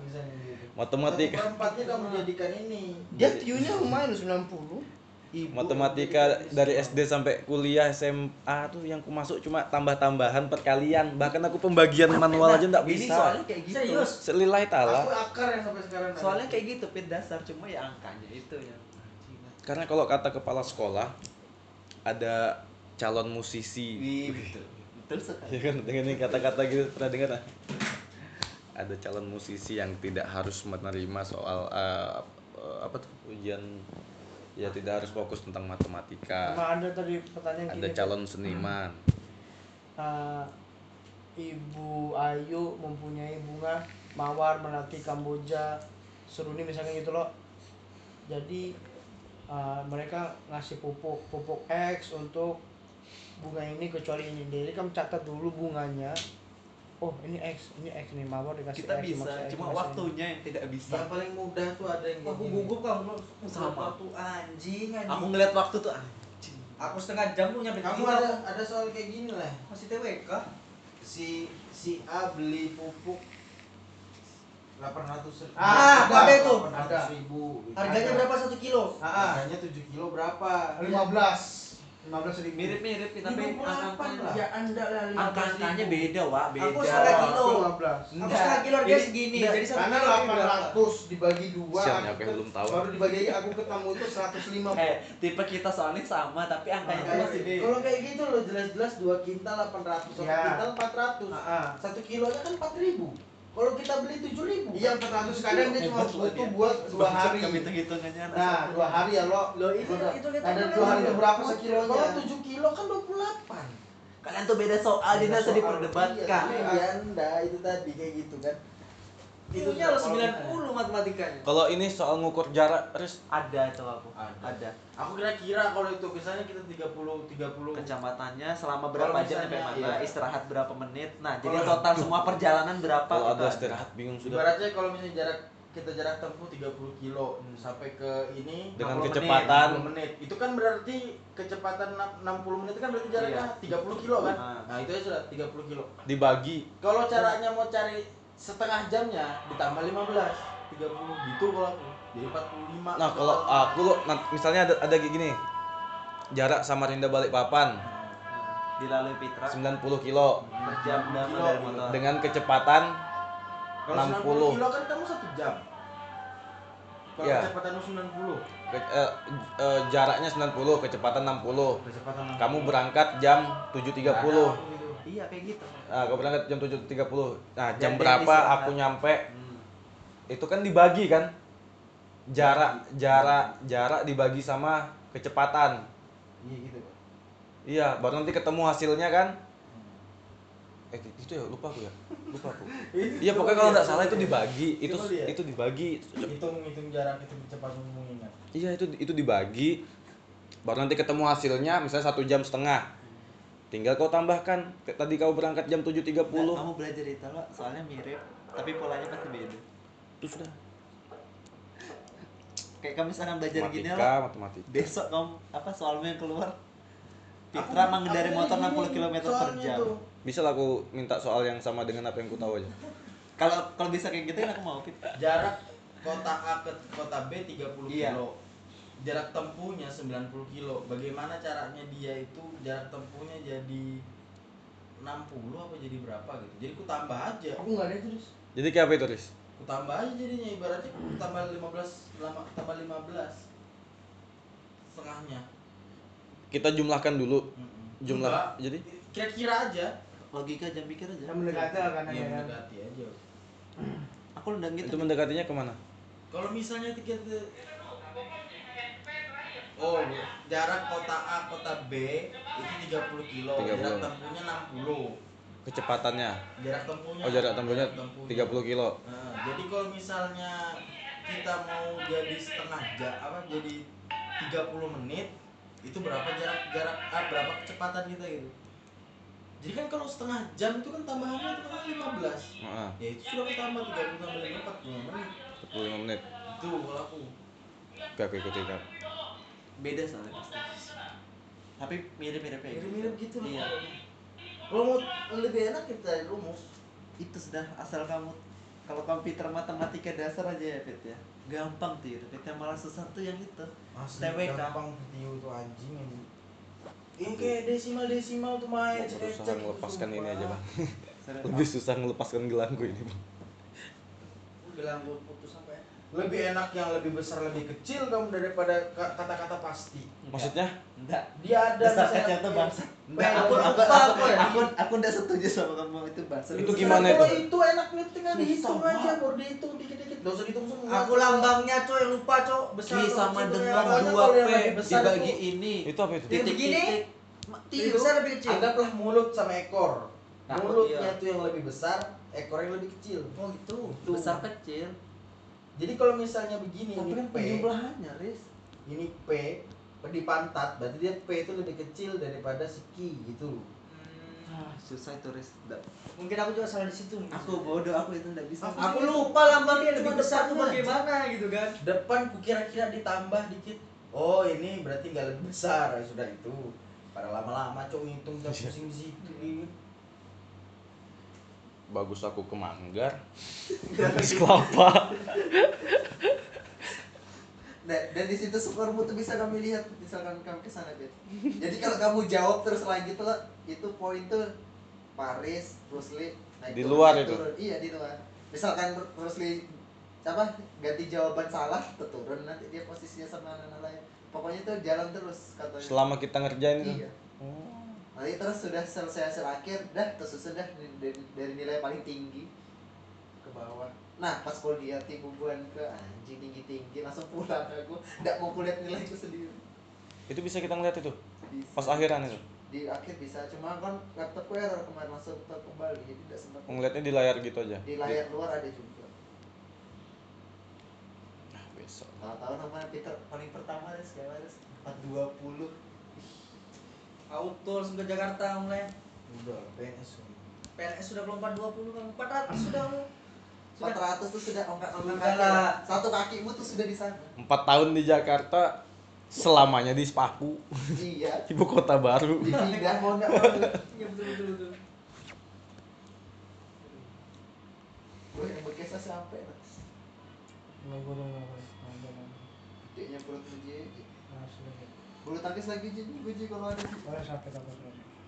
F: misalnya gitu.
A: matematika.
F: Satu per empatnya kamu jadikan ini.
C: Dia tiunya lumayan 90.
D: Ibu.
A: matematika dari SD sampai kuliah SMA tuh yang ku masuk cuma tambah-tambahan perkalian bahkan aku pembagian manual aja nggak
B: Nah, Ini
A: bisa
B: soalnya kayak gitu.
D: Serius?
A: selilai
D: Aku
A: taala
D: akar yang sampai sekarang. Nana.
B: Soalnya kayak gitu pit dasar cuma ya angkanya itu yang anjing lah.
A: karena kalau kata kepala sekolah ada calon musisi
B: Wih, betul. Betul sekali.
A: ya kan dengan yang kata-kata gitu pernah dengar nggak? ada calon musisi yang tidak harus menerima soal eh, eh, apa tuh ujian ya tidak harus fokus tentang matematika
C: Sama ada tadi
A: ada
C: pertanyaan gini,
A: calon seniman
C: eh, Ibu Ayu mempunyai bunga mawar melati Kamboja seruni misalnya gitu loh. Jadi eh, mereka ngasih pupuk pupuk X untuk bunga ini kecuali ini. Jadi kamu catat dulu bunganya. Oh ini X, ini X nih mawar dikasih
B: Kita
C: X.
B: bisa,
C: dimaksudnya X,
B: cuma
C: dimaksudnya
B: Oh,
C: X.
B: waktunya yang tidak bisa.
D: yang paling mudah tuh ada yang
J: aku
D: gini.
J: gugup kamu
B: Sama.
J: tuh anjing anjing
B: Aku ngeliat waktu tuh ah, anjing.
J: aku setengah jam tuh nyampe
D: Kamu
J: tidur, aku
D: ada ada soal kayak gini lah.
J: masih TWK
D: Si si A beli pupuk 800 ribu.
J: Ah, ada itu.
D: Ada ribu.
J: harganya berapa satu
D: Ah,
J: kilo
D: Harganya 7 kilo berapa?
C: 15 15 ribu.
B: Mirip-mirip
D: 58
B: tapi
D: lah.
J: ya anda lah
B: angka-angkanya beda, Wak, beda.
J: Aku
D: ya,
J: setengah
B: gitu.
J: kilo. aku
C: 15.
J: setengah kilo harganya segini
D: Enggak,
J: jadi satu
D: karena
J: kilo ini berapa?
D: 800 dibagi dua
A: Sian,
D: aku
A: aku yang
D: ket-
A: belum tahu.
D: baru dibagi aja aku ketemu itu 150
B: Eh, tipe kita soalnya sama tapi angkanya tuh
D: Makanya,
B: masih beda.
D: kalau kayak gitu loh jelas-jelas 2 kintal 800 1
C: Ya.
D: kintal 400
C: Ah, ah.
D: satu kilonya kan 4000 kalau kita beli 7000 iya 400 kadang dia cuma
B: Hebat loh
D: butuh
B: dia.
D: buat 2
B: Bangsat
D: hari
B: kami tuh hitungannya anak
D: nah
B: satu.
D: 2 hari ya lo
J: Loh, itu-
D: Udah.
J: itu lihat
D: ada
J: aja
D: 2 hari
J: kan.
D: berapa
J: Buat
D: sekilonya
J: kilonya.
D: 7 kilo kan 28
B: Kalian tuh beda soal, Ah, jadi
D: Iya,
B: nggak usah
D: Soal-
B: diperdebatkan.
D: iya, iya, anda itu tadi kayak gitu kan
J: Ilmunya
D: sudah
J: harus
D: kalau
J: 90 matematikanya
A: kalau ini soal ngukur jarak terus
B: Ada itu aku.
D: Ada.
B: Ada.
D: Aku kira-kira kalau itu kesannya kita 30 30
B: Kecamatannya
D: Kalau
B: selama berapa
D: misalnya,
B: jam sampai mana,
D: iya.
B: istirahat berapa menit. Nah, jadi
D: Kalau-
B: total semua perjalanan berapa?
A: kalau
B: kita
A: ada istirahat bingung sudah
D: Ibaratnya kalau misalnya jarak kita jarak tempuh 30 kilo sampai ke ini
A: Dengan
D: 60 menit,
A: kecepatan.
D: 60 menit. Itu kan berarti kecepatan na- 60 menit itu kan berarti jaraknya 30 kilo kan?
B: Ah.
D: Nah, itu aja sudah 30 kilo.
A: dibagi
D: Kalau caranya mau cari setengah jamnya ditambah 15, 30 gitu kalau aku. Jadi 45.
A: nah kalau aku lo nah, misalnya ada ada kayak gini jarak Samarinda Balikpapan
B: Dilalui Pitra
A: 90 kilo
B: per
D: Kilo,
B: jam berapa dari
D: gitu.
B: motor?
A: dengan kecepatan
D: kalau
A: 60.
D: 90 kilo kan kamu 1 jam. Kalau
A: Iya.
D: kecepatan lu 90,
A: ke- eh, eh, jaraknya 90 kecepatan 60
D: kecepatan
A: kamu berangkat jam 7.30
B: Iya kayak gitu.
A: nah kamu berangkat jam 7.30 nah jam
B: Jadi
A: berapa
B: istirahat.
A: aku nyampe
B: Hmm.
A: itu kan dibagi kan jarak jarak jarak dibagi sama kecepatan
D: Iya gitu.
A: iya baru nanti ketemu hasilnya kan eh itu ya lupa aku ya lupa <laughs> aku iya pokoknya kalau nggak salah itu dibagi itu
D: Coba lihat.
A: itu dibagi
D: hitung-hitung jarak itu kecepatan ingat.
A: iya itu itu dibagi baru nanti ketemu hasilnya misalnya satu jam setengah tinggal kau tambahkan Kayak tadi kau berangkat jam 7.30
B: Nah, kamu belajar itu loh, soalnya mirip, tapi polanya pasti beda.
A: itu sudah
B: Kayak kamu misalkan belajar gini
A: matematika
B: loh,
A: matematika
B: besok kamu apa soalnya keluar Pitra mengendari motor 60 km per jam.
A: bisa lah aku minta soal yang sama dengan apa yang ku tahu aja
B: Kalau kalau bisa kayak gitu kan aku mau Pit.
D: Jarak kota A ke kota B 30
B: Iya.
D: kilo. Jarak tempuhnya 90 kilo. Bagaimana caranya dia itu jarak tempuhnya jadi 60 apa jadi berapa gitu. Jadi ku tambah aja.
J: aku nggak ada itu terus
A: jadi kayak apa itu Riz?
D: Ku tambah aja jadinya ibaratnya ku tambah 15 lama tambah 15 setengahnya.
A: kita jumlahkan dulu
D: Mm-mm.
A: Jumlah-
D: Enggak,
A: jadi?
D: kira-kira aja.
B: Logika jam pikir aja.
C: Yang mendekati lah
D: Ya
B: Iya,
C: karena ya.
D: mendekati aja.
B: Aku undang gitu.
A: itu mendekatinya kemana
D: Kalau misalnya tiga tiga- Oh, jarak kota A kota B itu 30 kilo.
A: 30.
D: Jarak tempuhnya 60.
A: kecepatannya
D: Jarak tempuhnya.
A: oh jarak tempuhnya 30 kilo
D: Nah, jadi kalau misalnya kita mau jadi setengah jam apa jadi 30 menit itu berapa jarak jarak ah, berapa kecepatan kita gitu. Jadi kan kalau setengah jam itu kan tambahannya itu kan 15.
A: Heeh,
D: Ya itu sudah ketambah 30 tambah 45 menit.
A: 45 menit
D: Itu kalau aku.
A: oke oke oke oke.
B: Beda soalnya pasti. Tapi mirip-mirip kayak
D: Mirip-mirip gitu loh.
B: Iya.
D: Kalau mau lebih enak kita dari rumus.
B: Itu sudah asal kamu Kalau komputer matematika dasar aja ya Fit ya. Gampang tuh ya, tapi yang malah susah tuh yang itu.
F: Asli
B: TWK.
F: gampang video tuh anjing ini. Ini kayak desimal desimal tuh gitu main.
A: Gua berusaha melepaskan ini aja bang
B: Serius.
A: lebih susah melepaskan gelangku ini bang
D: bilang gue putus apa ya
F: Lebih enak yang lebih besar lebih kecil kamu daripada ka- kata-kata pasti.
A: maksudnya
B: Enggak.
F: Dia ada
B: Besar
F: misalnya-
B: kecil tuh bangsa. Enggak,
D: Baik,
B: aku
D: gua
B: aku
D: lupa
B: aku
D: apa ya?
B: aku aku enggak setuju sama kamu itu bangsa.
A: Itu
F: Besar
A: gimana
F: kalau
A: itu?
F: Itu enaknya tinggal
B: Susah
F: dihitung aja,
B: banget.
F: baru dihitung dikit-dikit. Gak usah dihitung semua.
D: aku lambangnya coy lupa coy besar
B: Ini
D: atau
B: sama
D: kecil,
B: dengan
D: tuh, ya. yang
F: banyak
B: dua p
F: kalau yang lebih besar
B: dibagi
F: itu.
B: ini.
A: itu apa itu
D: Titik,
B: Titik
D: gini.
B: titik.
D: lebih besar lebih kecil
F: Anggaplah mulut sama ekor.
B: Nah,
F: Mulutnya
B: iya.
F: tuh yang lebih besar, ekor yang lebih kecil.
D: oh gitu
F: Tuh.
B: Besar kecil.
F: Jadi kalau misalnya begini
B: Tapi
F: ini
B: kan
F: P,
B: penjumlahannya, Riz.
F: ini P di pantat, berarti dia P itu lebih kecil daripada siki gitu.
D: Hmm,
B: Ah, susah itu Riz. Nggak-
D: mungkin aku juga salah di situ nih.
B: Aku bodoh, aku itu enggak bisa.
D: aku lupa lambangnya lebih besar tuh
F: depannya.
D: bagaimana gitu kan
F: Depan ku kira-kira ditambah dikit. Oh, ini berarti nggak lebih besar Ya sudah itu. Pada lama-lama cowok ngitung udah pusing di situ.
D: Iya.
A: bagus aku ke manggar habis kelapa
B: Nah, dan di situ skormu tuh bisa kami lihat misalkan kamu ke sana Fit. Jadi kalau kamu jawab terus lanjut tuh itu poin tuh Paris, Bruce Lee, naik
A: Di
B: turun,
A: luar
B: naik
A: itu?
B: turun. Iya, di luar. Misalkan Bru- Bruce Lee apa ganti jawaban salah tuh turun nanti dia posisinya sama anak-anak lain. Pokoknya tuh jalan terus katanya.
A: selama kita ngerjain itu
B: Iya.
D: Oh.
B: Nanti terus sudah selesai hasil akhir, dah tersusun dah dari, dari- dari nilai paling tinggi ke bawah. Nah, pas kuliah tibuan ke anjing tinggi-tinggi langsung pulang aku nggak mau kulihat nilaiku sendiri.
A: itu bisa kita ngeliat itu
B: Bisa.
A: pas akhiran itu
B: di akhir bisa cuma kan laptopku error kemarin langsung ke- kembali jadi tidak sempat
A: ngeliatnya di layar gitu aja
B: di layar luar ada juga
A: Ah, besok
B: tahu-tahu nomor Peter paling pertama deh sekarang deh empat dua puluh
D: auto langsung ke Jakarta mulai
F: Udah, PNS.
D: PNS sudah kelompok 20 kan 400 sudah lu
B: empat ratus tuh sudah ongkak ongkak
D: Sudah.
B: kaki lah. satu kakimu tuh sudah di <laughs> sana
A: empat tahun di Jakarta selamanya di Papu
B: iya
A: ibu kota baru
B: dipindah mau nggak mau
D: Iya betul betul betul.
B: gue yang berkesa sampai lah
C: Nggak, gua udah nggak boleh. Nggak, nggak, nggak.
B: gedenya perut gue jadi
C: Nah, sudah, ya.
B: bulu tangkis lagi jadi gue jadi kalau ada
C: Boleh sampai kapan, sudah.